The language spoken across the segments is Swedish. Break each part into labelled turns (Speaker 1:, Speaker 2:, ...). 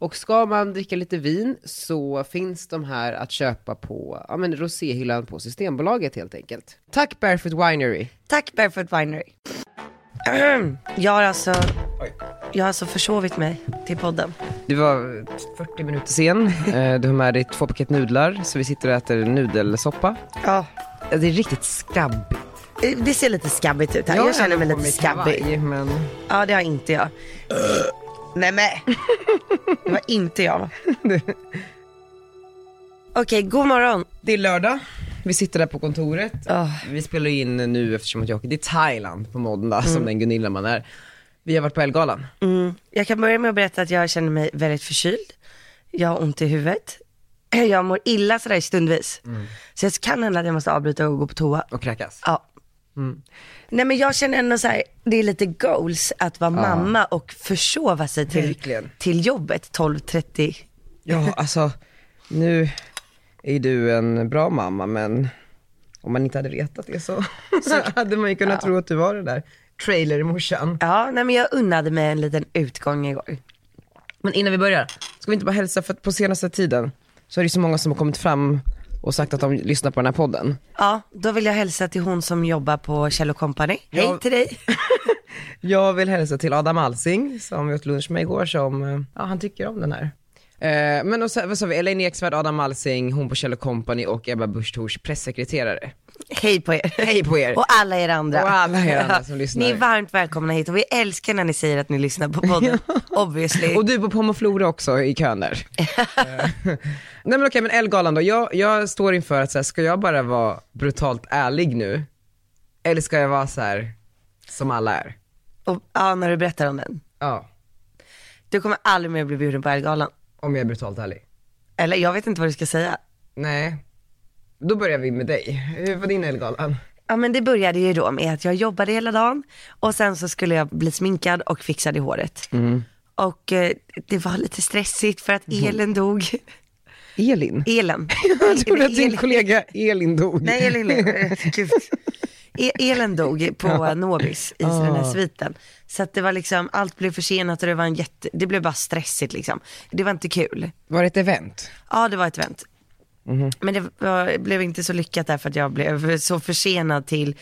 Speaker 1: Och ska man dricka lite vin så finns de här att köpa på ja, men roséhyllan på Systembolaget helt enkelt. Tack Barefoot Winery!
Speaker 2: Tack Barefoot Winery. Jag har alltså, jag har alltså försovit mig till podden.
Speaker 1: Du var 40 minuter sen, Eh, du har med dig två paket nudlar, så vi sitter och äter nudelsoppa.
Speaker 2: Ja.
Speaker 1: Ja, Det är riktigt skabbigt.
Speaker 2: Eh, Det ser lite skabbigt ut här. Jag, känner mig lite skabbig.
Speaker 1: Men...
Speaker 2: Ja, det har inte jag. Nej, men. Det var inte jag. Okej, god morgon.
Speaker 1: Det är lördag, vi sitter där på kontoret.
Speaker 2: Åh.
Speaker 1: Vi spelar in nu eftersom att jag åker till Thailand på måndag, som den Gunilla man är. Vi har varit på Elgalan.
Speaker 2: Mm. Jag kan börja med att berätta att jag känner mig väldigt förkyld. Jag har ont i huvudet. Jag mår illa sådär stundvis.
Speaker 1: Mm.
Speaker 2: Så det kan hända att jag måste avbryta och gå på toa.
Speaker 1: och kräkas.
Speaker 2: Ja.
Speaker 1: Mm.
Speaker 2: Nej men jag känner ändå så här, det är lite goals att vara mamma och försova sig till,
Speaker 1: Verkligen.
Speaker 2: till jobbet 12.30.
Speaker 1: Ja, alltså nu är ju du en bra mamma, men om man inte hade vetat det så, så hade man ju kunnat tro att du var den där trailermorsan.
Speaker 2: Ja, nej men jag unnade mig en liten utgång igår.
Speaker 1: Men innan vi börjar, ska vi inte bara hälsa för att på senaste tiden så är det ju så många som har kommit fram och sagt att de lyssnar på den här podden.
Speaker 2: Ja, då vill jag hälsa till hon som jobbar på Kjell Company. Hej
Speaker 1: Ja.
Speaker 2: till dig.
Speaker 1: Jag vill hälsa till Adam Alsing som vi åt lunch med igår som, eh, ja han tycker om den här. Eh, men och så, vad sa vi, Elaine Eksvärd, Adam Alsing, hon på Kjell Company och Ebba Busch Thors pressekreterare.
Speaker 2: Hej på er.
Speaker 1: Hej på er!
Speaker 2: Och alla er andra.
Speaker 1: Och alla er andra som lyssnar.
Speaker 2: Ni är varmt välkomna hit och vi älskar när ni säger att ni lyssnar på podden. Obviously.
Speaker 1: Och du på Pomoflora också i kön där. Eh, Nej men okej, men Ellegalan då. Jag, jag står inför att så här, ska jag bara vara brutalt ärlig nu? Eller ska jag vara så här som alla är?
Speaker 2: Och, ja, när du berättar om den.
Speaker 1: Ja,
Speaker 2: Du kommer aldrig mer bli bjuden på Ellegalan.
Speaker 1: om jag är brutalt ärlig.
Speaker 2: Eller jag vet inte vad du ska säga.
Speaker 1: Nej. Då börjar vi med dig. Hur var din Ellegalan?
Speaker 2: Ja men det började ju då med att jag jobbade hela dagen och sen så skulle jag bli sminkad och fixad i håret.
Speaker 1: Mm.
Speaker 2: Och eh, det var lite stressigt för att elen dog.
Speaker 1: Elin?
Speaker 2: Elen.
Speaker 1: Mm. Jag trodde att din
Speaker 2: Elin-
Speaker 1: kollega Elin dog.
Speaker 2: Nej, Elin lever. Gud. E- Elen dog på Nobis i den här sviten. Så att det var liksom, allt blev försenat och det var en jätte, det blev bara stressigt liksom. Det var inte kul.
Speaker 1: Var det ett event?
Speaker 2: Ja, det var ett event. Men det var, blev inte så lyckat därför att jag blev så försenad till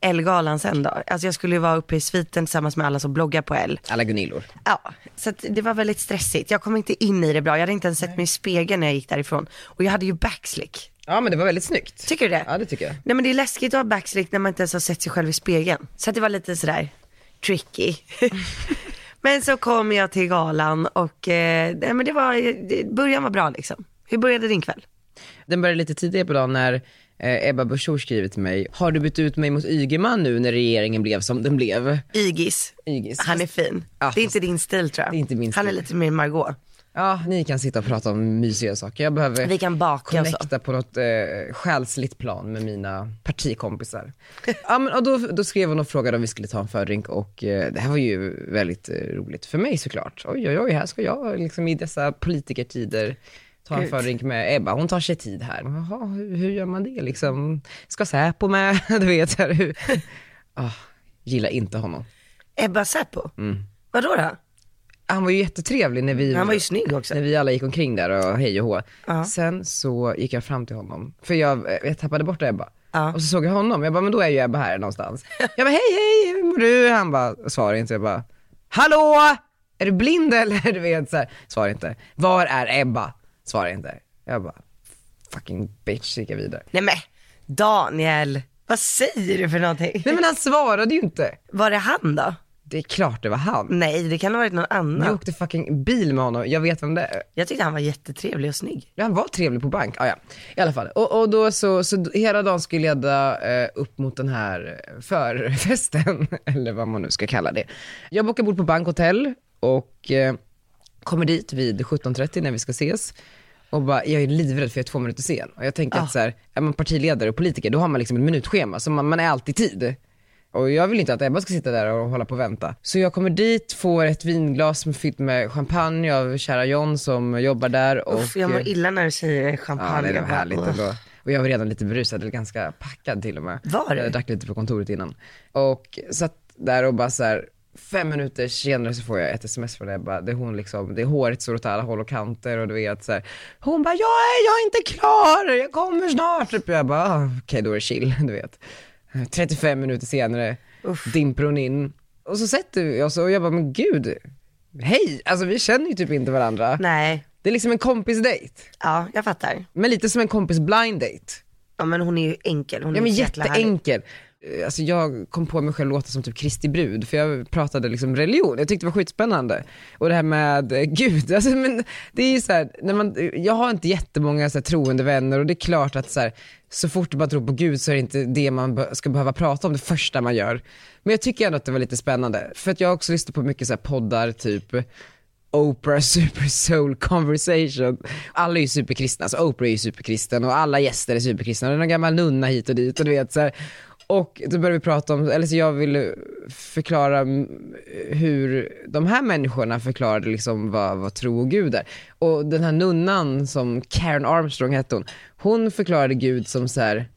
Speaker 2: Ellegalan sen då. Alltså jag skulle ju vara uppe i sviten tillsammans med alla som bloggar på L.
Speaker 1: Alla Gunillor.
Speaker 2: Ja, så att det var väldigt stressigt. Jag kom inte in i det bra. Jag hade inte ens sett mig i spegeln när jag gick därifrån. Och jag hade ju backslick.
Speaker 1: Ja men det var väldigt snyggt.
Speaker 2: Tycker du det?
Speaker 1: Ja det tycker jag.
Speaker 2: Nej men det är läskigt att ha backslick när man inte ens har sett sig själv i spegeln. Så att det var lite sådär tricky. men så kom jag till galan och eh, nej, men det var, det, början var bra liksom. Hur började din kväll?
Speaker 1: Den började lite tidigare på dagen när eh, Ebba Busch Thor skriver till mig, har du bytt ut mig mot Ygeman nu när regeringen blev som den blev?
Speaker 2: Ygis.
Speaker 1: Ygis.
Speaker 2: Han är fin.
Speaker 1: Ja,
Speaker 2: det är inte din stil tror jag.
Speaker 1: det är inte min
Speaker 2: Han är
Speaker 1: stil.
Speaker 2: lite mer Margot.
Speaker 1: Ja, ni kan sitta och prata om mysiga saker. Jag behöver
Speaker 2: Vi kan baka och så.
Speaker 1: connecta på något eh, själsligt plan med mina partikompisar. ja, men, och då, då skrev hon och frågade om vi skulle ta en fördrink och eh, det här var ju väldigt eh, roligt för mig såklart. Oj, oj, oj, här ska jag liksom i dessa politikertider ta en
Speaker 2: Gud.
Speaker 1: fördrink med Ebba. Hon tar sig tid här. Jaha, hur, hur gör man det liksom? Ska Säpo med? du vet, så här, hur? Ah, gillar inte honom.
Speaker 2: Ebba Säpo?
Speaker 1: Mm.
Speaker 2: Vadå då?
Speaker 1: Han var ju jättetrevlig när vi
Speaker 2: Han var ju snygg också.
Speaker 1: när vi alla gick omkring där och hej och hå.
Speaker 2: Ja.
Speaker 1: Sen så gick jag fram till honom, för jag, eh, jag tappade bort Ebba.
Speaker 2: Ja.
Speaker 1: Och så såg jag honom, jag bara, men då är ju Ebba här någonstans. Jag bara, hej hej, hur mår du? Han bara, svarar inte. Jag bara, hallå! Är du blind eller? Du vet så här. Svarar inte. Var är Ebba? Svarar inte. Jag bara, fucking bitch, gick jag vidare.
Speaker 2: Nej men Daniel, vad säger du för någonting?
Speaker 1: Nej men han svarade ju inte.
Speaker 2: Var det han då?
Speaker 1: Det är klart det var han.
Speaker 2: Nej, det kan ha varit någon annan.
Speaker 1: Jag åkte fucking bil med honom, jag vet vem det är.
Speaker 2: Jag tyckte han var jättetrevlig och snygg.
Speaker 1: Ja, Han var trevlig på bank, ah, ja. i alla fall. Och, och då så, så d- hela dagen skulle leda eh, upp mot den här förfesten, eller vad man nu ska kalla det. Jag bokade bord på bankhotell och eh, kommer dit vid 17.30 när vi ska ses och bara, jag är livrädd för jag är två minuter sen. Och jag tänker
Speaker 2: Ah.
Speaker 1: att så här, är man partiledare och politiker då har man liksom ett minutschema, så man, man är alltid i tid. Och jag vill inte att Ebba ska sitta där och hålla på och vänta. Så jag kommer dit, får ett vinglas som är fyllt med champagne av kära John som jobbar där. Och, eh,
Speaker 2: Uff, jag mår illa när du säger champagne.
Speaker 1: Ja, nej, det
Speaker 2: Jag
Speaker 1: var
Speaker 2: bara,
Speaker 1: härligt
Speaker 2: "Ugh."
Speaker 1: ändå. Och jag var redan lite berusad, eller ganska packad till och med.
Speaker 2: Var du?
Speaker 1: Jag drack lite på kontoret innan. Och satt där och bara så här, fem minuter senare så får jag ett sms från Ebba. Det är hon liksom, det är håret står åt alla håll och kanter och du vet så här. Hon bara, jag är, jag är inte klar, jag kommer snart. Typ. Jag bara, "Ah, okej då är det chill, du vet. 35 minuter senare dimper hon in. Och så sätter vi oss och jag bara, men gud, hej, alltså vi känner ju typ inte varandra.
Speaker 2: Nej,
Speaker 1: Det är liksom en kompisdejt.
Speaker 2: ja jag fattar.
Speaker 1: Men lite som en kompis blind date.
Speaker 2: Ja men hon är ju enkel. Hon
Speaker 1: Ja men
Speaker 2: är Mm, så jäkla härlig.
Speaker 1: jätteenkel. Eh, Alltså jag kom på mig själv låta som typ Kristi brud, för jag pratade liksom religion. Jag tyckte det var skitspännande. Och det här med eh, Gud, alltså men det är ju så här, när man, eh, jag har inte jättemånga så här troende vänner och det är klart att så här, så fort man tror på Gud så är det inte det man be- ska behöva prata om det första man gör. Men jag tycker ändå att det var lite spännande, för att jag har också lyssnat på mycket så här poddar typ Oprah Super Soul Conversation. Alla är ju superkristna, alltså Oprah är ju superkristen och alla gäster är superkristna. Och det är någon gammal nunna hit och dit och du vet så här. Och då började vi prata om, eller så jag ville förklara mm, hur de här människorna förklarade liksom vad, vad tro och Gud är. Och den här nunnan som Karen Armstrong hette hon, hon förklarade Gud som så här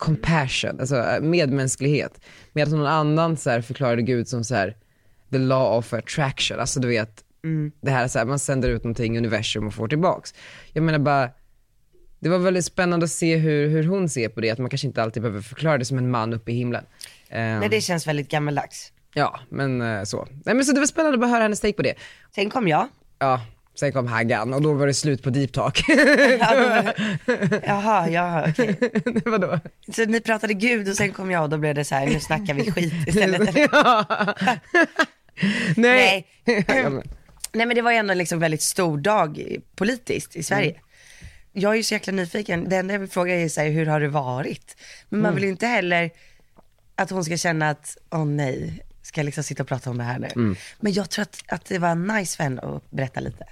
Speaker 1: compassion, alltså eh, medmänsklighet. Medan någon annan så här förklarade Gud som så här the law of attraction, alltså du vet,
Speaker 2: Mm.
Speaker 1: det här är så här, man sänder ut någonting i universum och får tillbaks. Jag menar bara, det var väldigt spännande att se hur, hur hon ser på det, att man kanske inte alltid behöver förklara det som en man uppe i himlen. Ehm,
Speaker 2: Nej det känns väldigt gammaldags.
Speaker 1: Ja, men eh, så. Nej men så det var spännande att bara höra hennes take på det.
Speaker 2: Sen kom jag.
Speaker 1: Ja, sen kom Haggan och då var det slut på deep talk.
Speaker 2: Jaha, jaha okej.
Speaker 1: Vadå?
Speaker 2: Så ni pratade gud och sen kom jag och då blev det så här, nu snackar vi skit istället.
Speaker 1: Ja. Nej.
Speaker 2: Nej.
Speaker 1: Ja, men-
Speaker 2: Nej men det var ju ändå en liksom väldigt stor dag eh, politiskt i Sverige.
Speaker 1: Mm.
Speaker 2: Jag är ju så jäkla nyfiken. Det enda jag vill fråga är så här, hur har det varit? Men
Speaker 1: Mm.
Speaker 2: man vill ju inte heller att hon ska känna att, åh nej, ska jag liksom sitta och prata om det här nu?
Speaker 1: Mm.
Speaker 2: Men jag tror att, att det var nice för henne att berätta lite.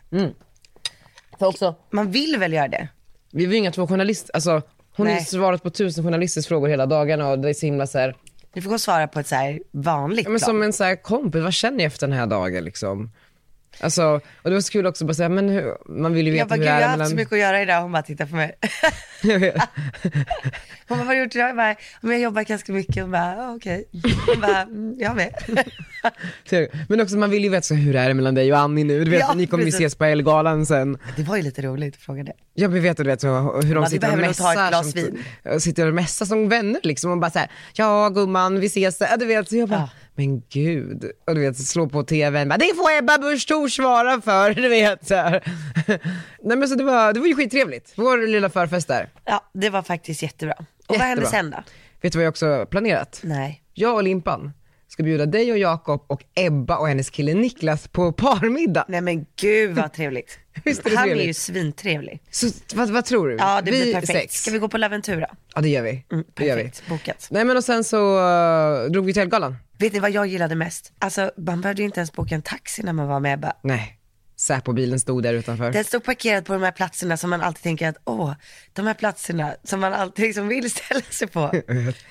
Speaker 1: För också,
Speaker 2: Man vill väl göra det?
Speaker 1: vi var ju inga två journalister, alltså hon har ju
Speaker 2: Nej.
Speaker 1: svarat på tusen journalisters frågor hela dagarna och det är så himla så här,
Speaker 2: Du får gå och svara på ett så här vanligt
Speaker 1: Ja, men
Speaker 2: plan.
Speaker 1: som en så här kompis, vad känner jag efter den här dagen liksom? Alltså, och det var så kul också bara säga, men hur, man vill ju veta
Speaker 2: Jag bara,
Speaker 1: hur
Speaker 2: gud
Speaker 1: det
Speaker 2: jag har
Speaker 1: är
Speaker 2: haft så mycket att göra idag. Hon bara tittar på mig. Hon bara, vad har du gjort idag? Jag bara, men jag jobbar ganska mycket. Hon bara, "Ah, okej. Hon bara, "Mm, jag med.
Speaker 1: men också man vill ju veta så, här, hur det är mellan dig och Annie nu, du vet,
Speaker 2: Ja,
Speaker 1: ni kommer ju
Speaker 2: precis.
Speaker 1: ses på Elgalan sen.
Speaker 2: Det var ju lite roligt att fråga det.
Speaker 1: Jag vill veta du vet, så, hur de
Speaker 2: vi
Speaker 1: sitter och
Speaker 2: behöver nog ta ett
Speaker 1: mässar,
Speaker 2: glas
Speaker 1: som-
Speaker 2: vin.
Speaker 1: och sitter och mässar som vänner liksom och bara så här, ja gumman vi ses, ja, du vet, så jag bara,
Speaker 2: Ja.
Speaker 1: men gud, och du vet slå på tvn, bara, det får Ebba Busch Thor svara för, du vet så här. Nej men så det var, det var ju skittrevligt, vår lilla förfest där.
Speaker 2: Ja, det var faktiskt jättebra. Och
Speaker 1: Jättebra.
Speaker 2: vad hände sen då?
Speaker 1: Vet du vad jag också har planerat?
Speaker 2: Nej.
Speaker 1: Jag och Limpan ska bjuda dig och Jakob och Ebba och hennes kille Niklas på parmiddag.
Speaker 2: Nej men gud vad trevligt.
Speaker 1: Visst är det
Speaker 2: Han är
Speaker 1: trevligt?
Speaker 2: ju svintrevlig.
Speaker 1: Så vad, vad tror du?
Speaker 2: Ja, det
Speaker 1: vi
Speaker 2: blir perfekt.
Speaker 1: Sex.
Speaker 2: Ska vi gå på Laventura?
Speaker 1: Ja det gör vi. det gör vi.
Speaker 2: Perfekt, bokat.
Speaker 1: Nej men och sen så eh, drog vi till Ellegalan.
Speaker 2: Vet ni vad jag gillade mest? Alltså man behövde ju inte ens boka en taxi när man var med Ebba.
Speaker 1: Nej, Säpo-bilen stod där utanför.
Speaker 2: Den stod parkerad på de här platserna som man alltid tänker att åh, de här platserna som man alltid liksom vill ställa sig på.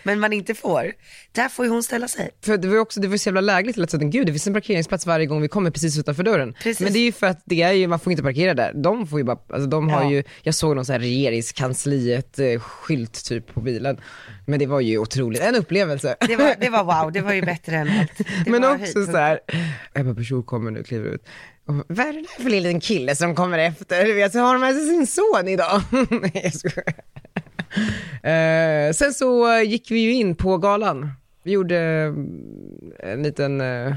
Speaker 2: men man inte får. Där får ju hon ställa sig.
Speaker 1: För det var ju också, det var så jävla lägligt till att säga, gud det finns en parkeringsplats varje gång vi kommer precis utanför dörren.
Speaker 2: Precis.
Speaker 1: Men det är ju för att det är ju, man får inte parkera där. De får ju bara, alltså de har
Speaker 2: Ja.
Speaker 1: ju, jag såg någon sån här regeringskansliet eh, skylt typ på bilen. Men det var ju otroligt, en upplevelse.
Speaker 2: Det var, det var wow, det var ju bättre än allt. Det
Speaker 1: Men
Speaker 2: var
Speaker 1: också
Speaker 2: höjdpunkten.
Speaker 1: så här, Ebba Busch Thor kommer nu, kliver ut. Och, Vad är det där för liten kille som kommer efter? Du vet, så har de med sig sin son idag. Nej, jag skojar. Eh, sen så eh, gick vi ju in på galan. Vi gjorde eh, en liten eh,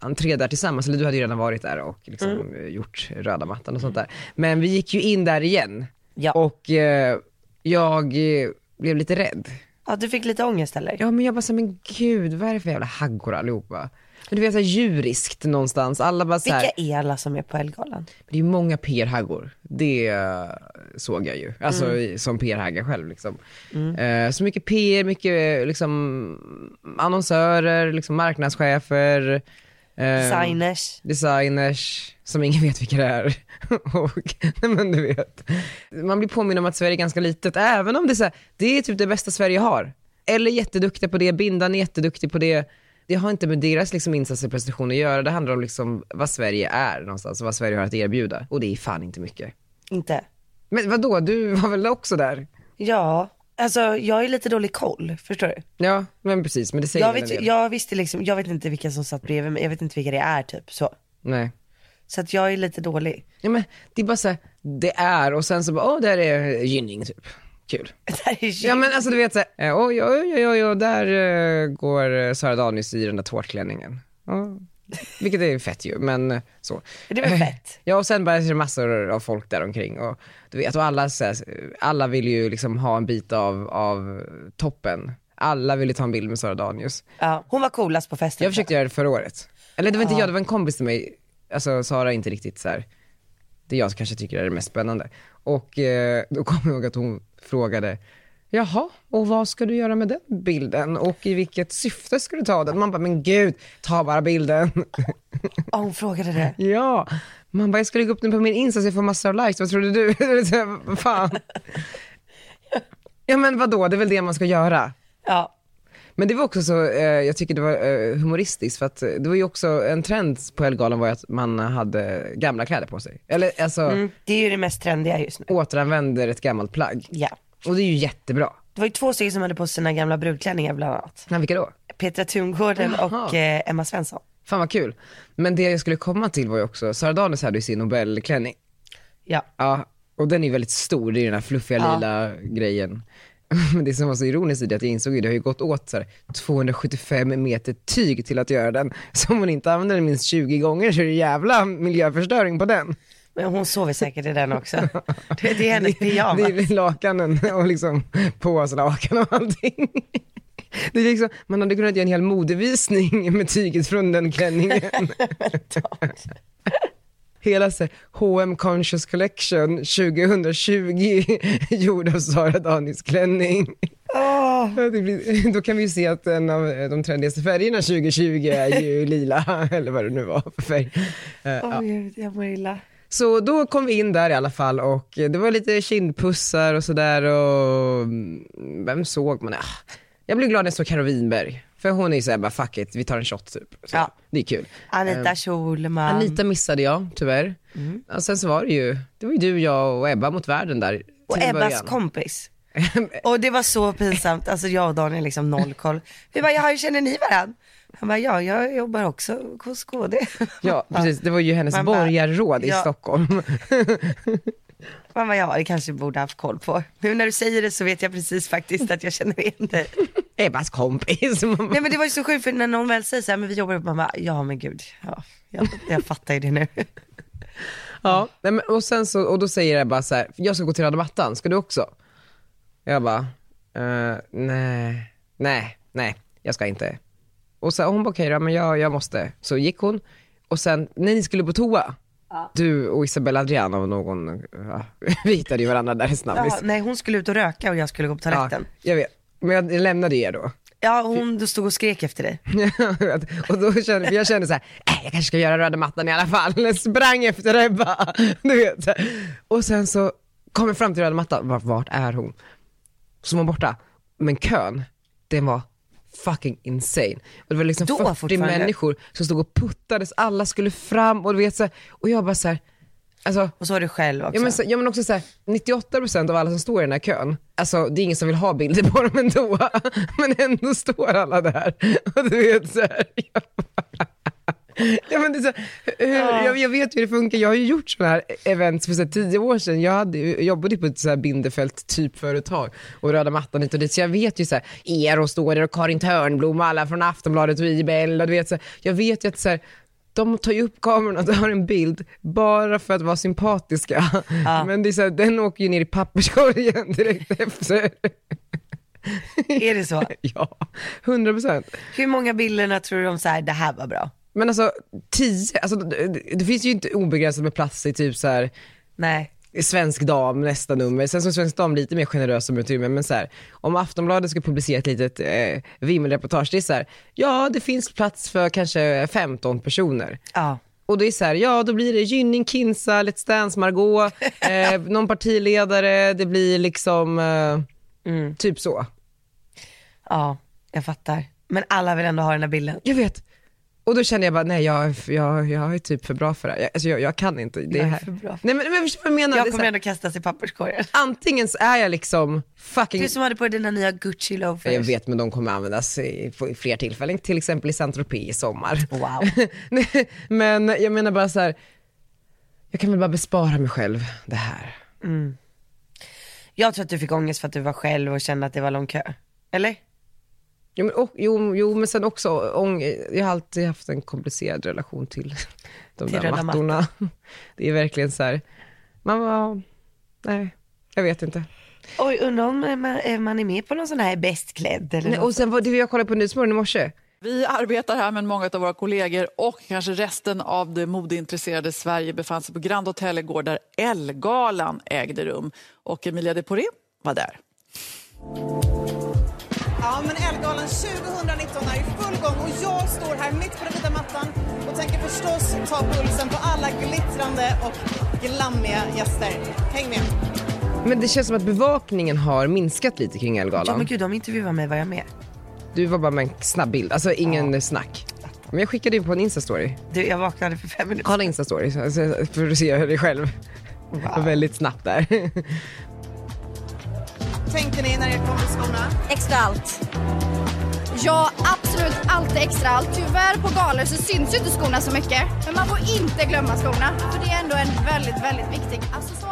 Speaker 1: entré där tillsammans, eller du hade ju redan varit där och liksom eh, gjort röda mattan och sånt där. Men vi gick ju in där igen
Speaker 2: Ja.
Speaker 1: och eh, jag eh, blev lite rädd.
Speaker 2: Ja, du fick lite ångest eller?
Speaker 1: Ja men jag bara så här, men gud vad är det för jävla haggor allihopa? Men du vet såhär djuriskt någonstans, alla bara såhär,
Speaker 2: Vilka är alla som är på Ellegalan?
Speaker 1: det är ju många PR-haggor. Det eh, såg jag ju, alltså i- som PR-hagga själv liksom. Eh, så mycket PR, mycket eh, liksom annonsörer, liksom marknadschefer, Eh,
Speaker 2: Designers.
Speaker 1: designers som ingen vet vilka det är. och, nej men du vet. Man blir påminn om att Sverige är ganska litet, även om det är, så här, det är typ det bästa Sverige har. Eller jätteduktiga på det, Bindan är jätteduktig på det. Det har inte med deras liksom insatser och prestation att göra, det handlar om liksom vad Sverige är någonstans och vad Sverige har att erbjuda. Och det är fan inte mycket.
Speaker 2: Inte.
Speaker 1: Men vadå, du var väl också där?
Speaker 2: Ja, alltså jag är lite dålig koll, förstår du?
Speaker 1: Ja, men precis, men det säger
Speaker 2: Jag,
Speaker 1: väl en
Speaker 2: vet,
Speaker 1: del.
Speaker 2: jag visste liksom, jag vet inte vilka som satt bredvid mig, jag vet inte vilka det är typ så.
Speaker 1: Nej.
Speaker 2: Så att jag är lite dålig.
Speaker 1: Ja, men det är bara så här, det är och sen så bara, åh där är Gynning typ. Kul.
Speaker 2: Det här är ju-
Speaker 1: Ja men alltså du vet såhär, eh, oj oj oj oj, oj där eh, går eh, Sara Danius i den där tårtklänningen. Ja, vilket är fett ju, men eh, så.
Speaker 2: Det var fett.
Speaker 1: Ja och sen bara ser det massor av folk där omkring och du vet, och alla, så här, alla vill ju liksom ha en bit av, av toppen. Alla ville ta en bild med Sara Danius.
Speaker 2: Ja, hon var coolast på festen.
Speaker 1: Jag försökte göra det förra året. Eller det var inte jag, det var en kompis till mig. Alltså Sara är inte riktigt så här. det jag kanske tycker är det mest spännande. Och eh, då kommer jag ihåg att hon frågade, jaha, och vad ska du göra med den bilden? Och i vilket syfte ska du ta den? Man bara, men gud, ta bara bilden.
Speaker 2: Ja, hon frågade det.
Speaker 1: ja. Man bara, jag ska lägga upp den på min Insta så jag får massor av likes, vad trodde du? Det är så här, vad Fan. Ja men vadå, det är väl det man ska göra.
Speaker 2: Ja,
Speaker 1: Men det var också så, eh, jag tycker det var eh, humoristiskt för att eh, det var ju också en trend på Ellegalan var ju att man hade gamla kläder på sig. Eller alltså
Speaker 2: mm, det är ju det mest trendiga just nu.
Speaker 1: återanvänder ett gammalt plagg.
Speaker 2: Ja.
Speaker 1: Och det är ju jättebra.
Speaker 2: Det var ju två stycken som hade på sig sina gamla brudklänningar bland annat.
Speaker 1: Nej, vilka då?
Speaker 2: Petra Tungården
Speaker 1: Jaha.
Speaker 2: och eh, Emma Svensson.
Speaker 1: Fan vad kul. Men det jag skulle komma till var ju också, Sara Danius hade ju sin Nobelklänning.
Speaker 2: Ja.
Speaker 1: Ja, och den är ju väldigt stor, det är den här fluffiga
Speaker 2: Ja.
Speaker 1: lila grejen. Men det som var så ironiskt i det att jag insåg ju, det har ju gått åt så här, 275 meter tyg till att göra den. Så om hon inte använder den minst 20 gånger så är det jävla miljöförstöring på den.
Speaker 2: Men hon sover säkert i den också. Det, det är hennes
Speaker 1: Det
Speaker 2: pyjamas.
Speaker 1: är lakanen och liksom påslakan och allting. Det är liksom, man hade kunnat göra en hel modevisning med tyget från den klänningen. Hela så här, H&M Conscious Collection 2020 gjord av Sara Danis klänning.
Speaker 2: Åh,
Speaker 1: Ja, det blir- Då kan vi ju se att en av de trendigaste färgerna 2020 är ju lila, eller vad det nu var för färg. Eh,
Speaker 2: åh gud, jag mår illa.
Speaker 1: så då kom vi in där i alla fall och det var lite kindpussar och sådär och mm, vem såg man? Ah, Jag blev glad när jag såg Karo Winberg. För hon är ju såhär bara fuck it, vi tar en shot typ. Så,
Speaker 2: Ja. Um.
Speaker 1: Det är kul.
Speaker 2: Anita Schulman.
Speaker 1: Ehm, Anita missade jag tyvärr.
Speaker 2: Mm.
Speaker 1: Och sen så var det ju, det var ju du, jag och Ebba mot världen där till
Speaker 2: och
Speaker 1: en
Speaker 2: Ebbas
Speaker 1: början.
Speaker 2: kompis. Och det var så pinsamt, alltså jag och Daniel liksom noll koll. Vi bara, jaha hur känner ni varandra? Han bara, ja jag jobbar också hos KD.
Speaker 1: Ja precis, det var ju hennes
Speaker 2: Man bara-
Speaker 1: borgarråd i
Speaker 2: Ja.
Speaker 1: Stockholm.
Speaker 2: Man bara, ja det kanske vi borde haft koll på. Nu när du säger det så vet jag precis faktiskt att jag känner igen dig.
Speaker 1: Ebbas kompis.
Speaker 2: Nej men det var ju så sjukt för när någon väl säger så här, men vi jobbar ihop, man bara, ja men gud, ja, jag, jag fattar ju det nu.
Speaker 1: Ja, nej, men, och, sen så, och då säger Ebba så här, jag ska gå till röda mattan, ska du också? Jag bara, eh, nej, nej, nej, jag ska inte. Och så, och hon bara, okej då, men jag, jag måste. Så gick hon och sen, när ni skulle på toa, du och Isabella Adriana av någon, ja, vi hittade ju varandra där i
Speaker 2: Ja,
Speaker 1: snabbis.
Speaker 2: nej hon skulle ut och röka och jag skulle gå på
Speaker 1: Ja,
Speaker 2: toaletten.
Speaker 1: jag vet, men jag lämnade er då.
Speaker 2: Ja, hon du stod och skrek efter dig.
Speaker 1: och då kände, för jag kände så här, äh, jag kanske ska göra röda mattan i alla fall. Jag sprang efter Ebba. Du vet. så här. Och sen så kom jag fram till röda mattan, Bara, vart är hon? Så var hon borta. Men kön, den var fucking insane. Och det var liksom
Speaker 2: Då
Speaker 1: 40
Speaker 2: fortfarande?
Speaker 1: människor som stod och puttades, alla skulle fram och du vet så här, och jag bara så här, alltså
Speaker 2: Och så var du själv också.
Speaker 1: Ja men, så- ja men också såhär, 98% av alla som står i den här kön, alltså det är ingen som vill ha bilder på dem ändå, men ändå står alla där. Och du vet såhär, jag bara- Ja, men det är så, här, hur,
Speaker 2: Ja.
Speaker 1: jag, jag vet hur det funkar, jag har ju gjort sådana här events för så här, tio år sedan. Jag hade, ju- jobbade ju på ett så här Bindefält typföretag och röda mattan hit och dit. Så jag vet ju så här, er och står där och Karin Törnblom och alla från Aftonbladet och IBL. Och du vet, så här, jag vet ju att så här, de tar ju upp kameran och tar en bild bara för att vara sympatiska.
Speaker 2: Ja.
Speaker 1: Men det är så här, den åker ju ner i papperskorgen direkt efter.
Speaker 2: Är det så?
Speaker 1: Ja, 100 procent.
Speaker 2: Hur många bilderna tror du om så här, det här var bra?
Speaker 1: Men alltså tio, alltså, det, det finns ju inte obegränsat med plats i typ så här
Speaker 2: Nej.
Speaker 1: Svensk Dam nästa nummer. Sen som Svensk Dam lite mer generös om utrymme men så här, om Aftonbladet skulle publicera ett litet eh, vimmelreportage, det är så här, ja det finns plats för kanske 15 personer.
Speaker 2: Ja.
Speaker 1: Och det är så här, ja då blir det Gynning, Kinsa, Let's Dance, Margot, eh, någon partiledare, det blir liksom eh,
Speaker 2: Mm.
Speaker 1: typ så.
Speaker 2: ja, jag fattar. Men alla vill ändå ha den där bilden.
Speaker 1: Jag vet. Och då kände jag bara, nej jag, jag, jag är typ för bra för det här. Jag, alltså, jag, jag kan inte det
Speaker 2: är
Speaker 1: här.
Speaker 2: för bra.
Speaker 1: Nej men, men förstår du vad jag menar? Det
Speaker 2: Jag
Speaker 1: är så
Speaker 2: kommer
Speaker 1: här,
Speaker 2: ändå kastas i papperskorgen.
Speaker 1: antingen så är jag liksom fucking...
Speaker 2: Du som hade på dig dina nya Gucci loafers.
Speaker 1: Eh, Jag vet men de kommer användas i, på fler tillfällen, till exempel i Saint-Tropez i sommar.
Speaker 2: Wow.
Speaker 1: Nej, men jag menar bara så här, jag kan väl bara bespara mig själv det här.
Speaker 2: Jag tror att du fick ångest för att du var själv och kände att det var lång kö. Eller?
Speaker 1: Jo men, och, jo, jo, men sen också, ång, jag har alltid haft en komplicerad relation till de
Speaker 2: Till
Speaker 1: där
Speaker 2: röda
Speaker 1: mattorna. Det är verkligen så här, man var, nej, jag vet inte.
Speaker 2: Oj, undrar om man, eh, man är med på någon sån här bäst klädd eller
Speaker 1: Nej,
Speaker 2: något.
Speaker 1: och sen var det jag kollade på Nyhetsmorgon i morse,
Speaker 3: Vi arbetar här, men många av våra kollegor och kanske resten av det modeintresserade Sverige befann sig på Grand Hotel igår där Ellegalan ägde rum. Och Emilia de Poré var där.
Speaker 4: Ja, men Ellegalan 2019 är i full gång och jag står här mitt på den vita mattan och tänker förstås ta pulsen på alla glittrande och glammiga gäster. Häng med!
Speaker 1: men det känns som att bevakningen har minskat lite kring
Speaker 2: Ja men
Speaker 1: Ellegalan.
Speaker 2: gud, de intervjuade mig var jag med.
Speaker 1: Du var bara med en snabb bild, alltså ingen snack. Men jag skickade ju på en instastory.
Speaker 2: Du, jag vaknade för fem minuter.
Speaker 1: Kolla instastory så- så- för att se dig själv. Väldigt snabbt där.
Speaker 4: Tänkte ni när jag kom till skorna?
Speaker 5: Extra allt. Ja, absolut allt är extra allt. Tyvärr på galor så syns ju inte skorna så mycket. Men man får inte glömma skorna, för det är ändå en väldigt, väldigt viktig accessoar.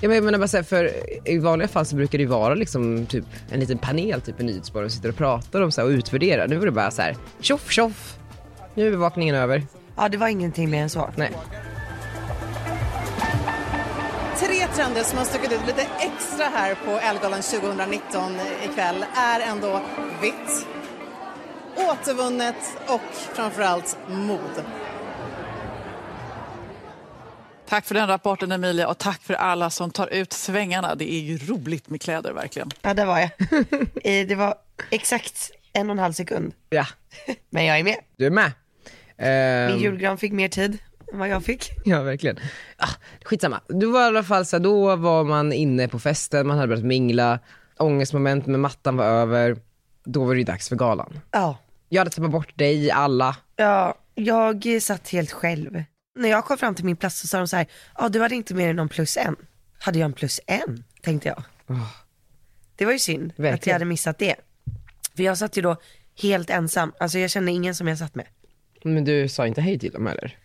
Speaker 1: Ja, men jag menar bara så här, för i vanliga fall så brukar det ju vara liksom typ en liten panel typ i Nyhetsmorgon och sitter och pratar om så här och utvärderar. Nu var det bara så här tjoff tjoff. Nu är bevakningen över.
Speaker 2: Ja, det var ingenting mer än så.
Speaker 1: Nej.
Speaker 4: Tre trender som har stuckit ut lite extra här på Ellegalan 2019 ikväll är ändå vitt, återvunnet och framförallt mod.
Speaker 3: Tack för den rapporten Emilia och tack för alla som tar ut svängarna. Det är ju roligt med kläder verkligen.
Speaker 2: Ja, där var jag. Eh, Det var exakt en och en halv sekund.
Speaker 1: Ja,
Speaker 2: Men jag är med.
Speaker 1: du är med.
Speaker 2: Min
Speaker 1: Ehm,
Speaker 2: julgran fick mer tid än vad jag fick.
Speaker 1: ja, verkligen. Ah, skitsamma. Du var i alla fall så här, då var man inne på festen, man hade börjat mingla, ångestmoment med mattan var över. Då var det ju dags för galan.
Speaker 2: Ja.
Speaker 1: Jag hade tappat bort dig, alla.
Speaker 2: Ja, jag eh, satt helt själv. När jag kom fram till min plats så sa de så här, ja du hade inte med dig någon plus en. Hade jag en plus en? Tänkte jag. Det var ju synd att jag
Speaker 1: Ah. Verkligen.
Speaker 2: hade missat det. För jag satt ju då helt ensam, alltså jag kände ingen som jag satt med.
Speaker 1: Men du sa inte hej till dem heller?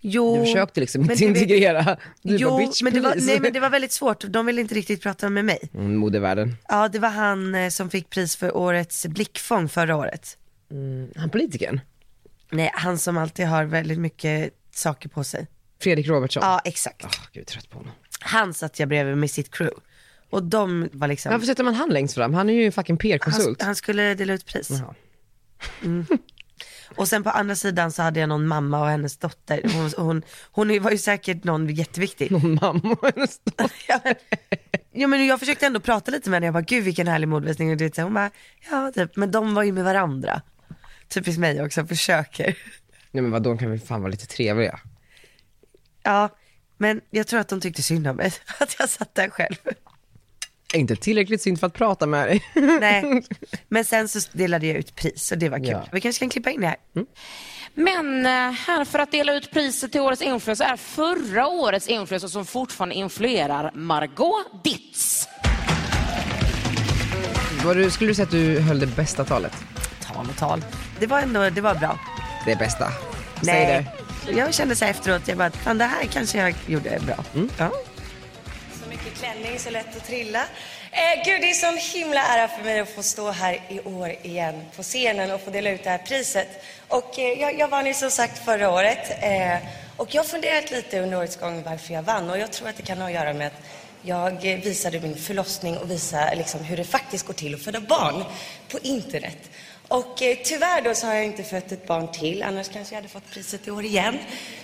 Speaker 2: Jo,
Speaker 1: Du försökte liksom
Speaker 2: men
Speaker 1: inte
Speaker 2: du vet-
Speaker 1: integrera. Du
Speaker 2: jo,
Speaker 1: bara bitch
Speaker 2: men det var,
Speaker 1: please."
Speaker 2: nej men det var väldigt svårt, de ville inte riktigt prata med mig.
Speaker 1: Mm, Modevärlden.
Speaker 2: Ja, det var han eh, som fick pris för årets blickfång förra året.
Speaker 1: Han politikern?
Speaker 2: Nej, han som alltid har väldigt mycket saker på sig.
Speaker 1: Fredrik Robertsson?
Speaker 2: Ja, exakt.
Speaker 1: Ah, gud, jag är trött på honom.
Speaker 2: Han satt jag bredvid med sitt crew. Och de var liksom,
Speaker 1: Varför sätter man han längst fram? Han är ju en fucking
Speaker 2: han,
Speaker 1: PR-konsult.
Speaker 2: han skulle dela ut pris.
Speaker 1: Jaha.
Speaker 2: Mm. Och sen på andra sidan så hade jag någon mamma och hennes dotter. Hon, hon, hon var ju säkert någon jätteviktig.
Speaker 1: Någon mamma och hennes dotter.
Speaker 2: Ja, men jag försökte ändå prata lite med henne, jag bara gud vilken härlig modevisning. Och du vet, så här, hon bara, ja typ. Men de var ju med varandra. Typiskt mig också, försöker.
Speaker 1: Nej men vadå, de kan väl fan vara lite trevliga?
Speaker 2: Ja, men jag tror att de tyckte synd om mig, att jag satt där själv.
Speaker 1: Är Inte tillräckligt synd för att prata med dig.
Speaker 2: Nej, men sen så delade jag ut pris och det var kul.
Speaker 1: Ja.
Speaker 2: Vi kanske kan klippa in det här.
Speaker 6: Men eh, här för att dela ut priset till årets influencer är förra årets influencer som fortfarande influerar Margot Ditz.
Speaker 1: Var du, skulle du säga att du höll det bästa talet?
Speaker 2: Tal och tal. Det var ändå, det var bra.
Speaker 1: Det bästa? Säg det.
Speaker 2: Jag kände så här efteråt, jag bara, fan det här kanske jag gjorde bra.
Speaker 1: Mm.
Speaker 2: Ja.
Speaker 7: Så mycket klänning, så lätt att trilla. Eh, gud, det är sån himla ära för mig att få stå här i år igen på scenen och få dela ut det här priset. Och eh, jag, jag vann ju som sagt förra året. Eh, och jag har funderat lite under årets gång varför jag vann och jag tror att det kan ha att göra med att jag eh, visade min förlossning och visade liksom hur det faktiskt går till att föda barn på internet. Och eh, tyvärr då så har jag inte fött ett barn till, annars kanske jag hade fått priset i år igen.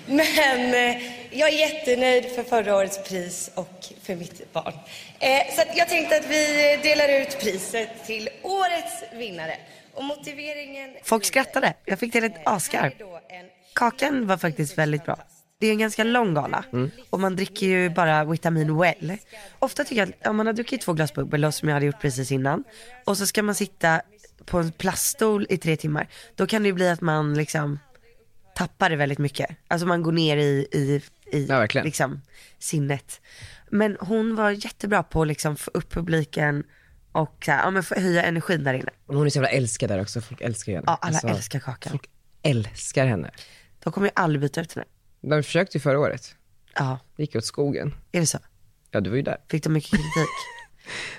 Speaker 7: Men eh, jag är jättenöjd för förra årets pris och för mitt barn. Eh, så att jag tänkte att vi eh, delar ut priset till årets vinnare. Och motiveringen... Eh,
Speaker 2: Folk skrattade. Jag fick till ett asgarv. Kakan var faktiskt väldigt bra. Det är en ganska lång gala och man dricker ju bara vitamin well. Ofta tycker jag att om man har druckit två glas bubbel då, som jag hade gjort precis innan och så ska man sitta på en plaststol i tre timmar. Då kan det ju bli att man liksom tappar det väldigt mycket. Alltså man går ner i, i, i
Speaker 1: Ja, verkligen.
Speaker 2: liksom, sinnet. Men hon var jättebra på att liksom få upp publiken och så här, ja, men få höja energin där inne.
Speaker 1: Hon är så jävla älskad där också, folk älskar ju henne.
Speaker 2: Ja, alla
Speaker 1: Alltså,
Speaker 2: älskar Kakan.
Speaker 1: Folk älskar henne.
Speaker 2: Då kommer ju aldrig byta ut henne.
Speaker 1: De försökte ju förra året,
Speaker 2: Ja,
Speaker 1: det gick åt skogen.
Speaker 2: är det så?
Speaker 1: Ja, du var ju där.
Speaker 2: Fick de mycket kritik?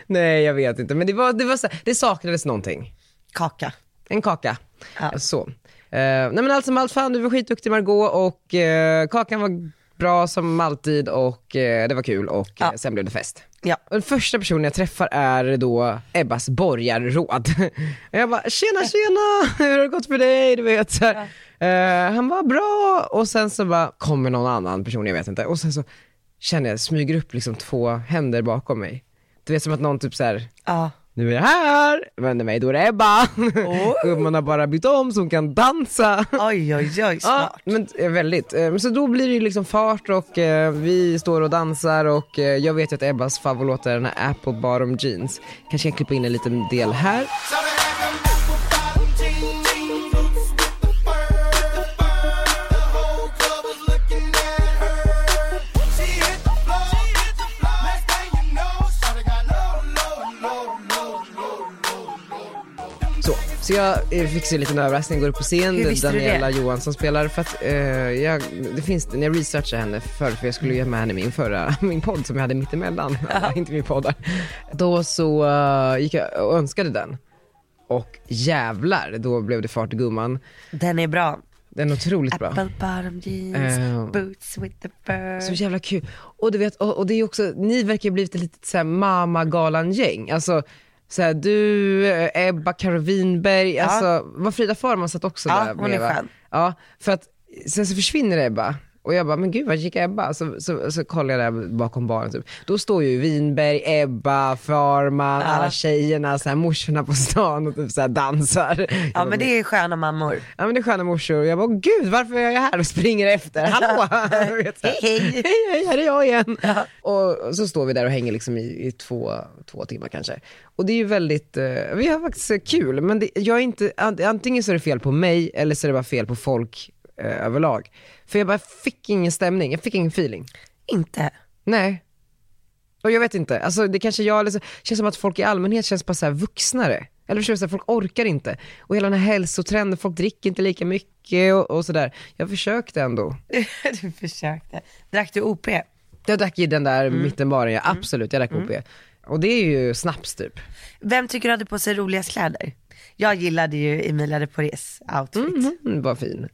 Speaker 1: Nej, jag vet inte. Men det, var, det, var så, här- det saknades någonting.
Speaker 2: Kaka.
Speaker 1: En kaka.
Speaker 2: Ja.
Speaker 1: Så. Eh, nej men allt som allt, fan du var skitduktig Margot och eh, kakan var bra som alltid och eh, det var kul och
Speaker 2: Ja.
Speaker 1: eh, sen blev det fest.
Speaker 2: Ja.
Speaker 1: Och den första personen jag träffar är då Ebbas borgarråd. Och jag bara, tjena tjena, hur har det gått för dig? Du vet så här. Eh, Han var bra och sen så bara kommer någon annan person, jag vet inte. Och sen så känner jag, smyger upp liksom två händer bakom mig. Du vet som att någon typ så här
Speaker 2: Ja.
Speaker 1: nu är jag här, vänder mig, då är det Ebba. Gumman har bara bytt om så hon kan dansa.
Speaker 2: Oj, oj, oj, smart.
Speaker 1: Ja, men, eh, väldigt. Eh, men Så då blir det ju liksom fart och eh, vi står och dansar och eh, jag vet ju att Ebbas favoritlåt är den här Apple Bottom Jeans. Kanske jag klipper in en liten del här. Så, så jag eh, fick se en liten överraskning, går upp på scen,
Speaker 2: Hur visste du
Speaker 1: Daniela
Speaker 2: det?
Speaker 1: Johansson spelar. För att, eh, jag, det finns, när jag researchade henne förr, för jag skulle ju ha med henne i min förra, min podd som jag hade mittemellan, alla intervjupoddar. Då så eh, gick jag och önskade den. Och jävlar, då blev det fart i gumman.
Speaker 2: Den är bra.
Speaker 1: Den är otroligt bra.
Speaker 2: Apple bottom jeans,
Speaker 1: Eh.
Speaker 2: boots with the
Speaker 1: Så
Speaker 2: bird.
Speaker 1: jävla kul. Och du vet, och, och det är också, ni verkar ju ha blivit ett litet såhär mamagalan-gäng. Alltså, såhär, du, eh, Ebba, Karo Winberg, alltså, var Frida Farman satt också
Speaker 2: Ja,
Speaker 1: där
Speaker 2: hon är
Speaker 1: med, va?
Speaker 2: skön.
Speaker 1: Ja, för att sen så försvinner Ebba. Och jag bara, men gud var gick Ebba? Så, så, så kollar jag där bakom baren typ. Då står ju Winberg, Ebba, Farman, alla tjejerna, så här, morsorna på stan och typ så här, dansar.
Speaker 2: Ja, men det är sköna mammor.
Speaker 1: Ja men det är sköna morsor och jag bara, gud varför är jag här och springer efter? Hallå! Du vet, så här.
Speaker 2: Hej, hej.
Speaker 1: hej hej, här är jag igen. Och så står vi där och hänger liksom i, i två, två timmar kanske. Och det är ju väldigt, eh, vi har faktiskt kul men det, jag är inte, an- antingen så är det fel på mig eller så är det bara fel på folk eh, överlag. För jag bara fick ingen stämning, jag fick ingen feeling.
Speaker 2: Inte.
Speaker 1: Nej. Och jag vet inte, alltså det kanske jag, eller så, känns som att folk i allmänhet känns bara så här vuxnare. Eller förstår du, så här, folk orkar inte. Och hela den här hälsotrenden, folk dricker inte lika mycket och, och sådär. Jag försökte ändå.
Speaker 2: du försökte. Drack du OP?
Speaker 1: Jag drack ju den där
Speaker 2: Mm.
Speaker 1: mittenbaren, ja, absolut, jag drack OP. Och det är ju snaps typ.
Speaker 2: Vem tycker du hade på sig roligast kläder? Jag gillade ju Emilia de Porés outfit.
Speaker 1: Mm, var fin.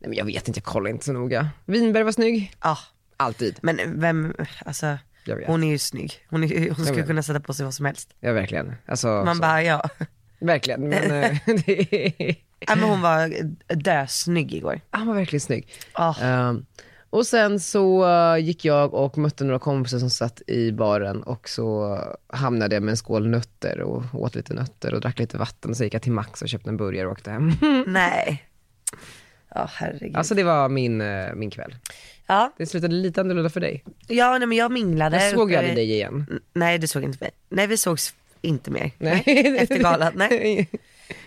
Speaker 1: Nej men jag vet inte, jag kollar inte så noga. Vinberg var snygg,
Speaker 2: Ja,
Speaker 1: alltid.
Speaker 2: men vem, alltså
Speaker 1: Jag vet.
Speaker 2: hon är ju snygg. Hon, är, ju- hon skulle
Speaker 1: vet.
Speaker 2: kunna sätta på sig vad som helst.
Speaker 1: Ja verkligen. Alltså,
Speaker 2: Man
Speaker 1: så.
Speaker 2: bara ja.
Speaker 1: Verkligen. Men, eh, det är...
Speaker 2: ja men hon var dösnygg igår.
Speaker 1: Han var verkligen snygg.
Speaker 2: Ah.
Speaker 1: Ehm, och sen så eh, gick jag och mötte några kompisar som satt i baren och så eh, hamnade jag med en skål nötter och åt lite nötter och drack lite vatten. Så gick jag till Max och köpte en burgare och åkte hem.
Speaker 2: Nej. Ja herregud.
Speaker 1: alltså det var min, eh, min kväll.
Speaker 2: ja,
Speaker 1: Det slutade lite annorlunda för dig.
Speaker 2: ja nej, men jag minglade.
Speaker 1: Jag såg ju
Speaker 2: uppe-
Speaker 1: aldrig dig igen.
Speaker 2: N- Nej, du såg inte mig. Nej, vi sågs inte mer.
Speaker 1: Nej.
Speaker 2: Efter galan, nej.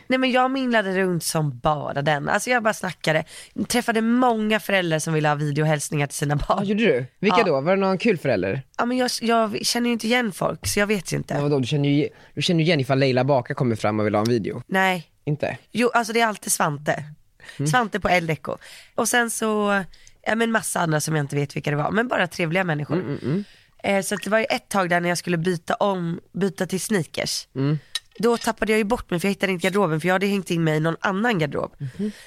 Speaker 2: Nej men jag minglade runt som bara den. Alltså jag bara snackade. Träffade många föräldrar som ville ha videohälsningar till sina
Speaker 1: Ja,
Speaker 2: barn.
Speaker 1: gjorde du? Vilka
Speaker 2: Ja.
Speaker 1: då? Var det någon kul förälder?
Speaker 2: Ja men jag, jag känner ju inte igen folk så jag vet ju inte.
Speaker 1: Ja, vadå? Du känner ju du känner ju igen ifall Leila Baka kommer fram och vill ha en video.
Speaker 2: Nej.
Speaker 1: Inte?
Speaker 2: Jo alltså det är alltid Svante. Svante på Eldeco. Och sen så, ja men massa andra som jag inte vet vilka det var. Men bara trevliga människor. Eh, så att det var ju ett tag där när jag skulle byta om, byta till sneakers. Då tappade jag ju bort mig för jag hittade inte garderoben för jag hade hängt in mig i någon annan garderob.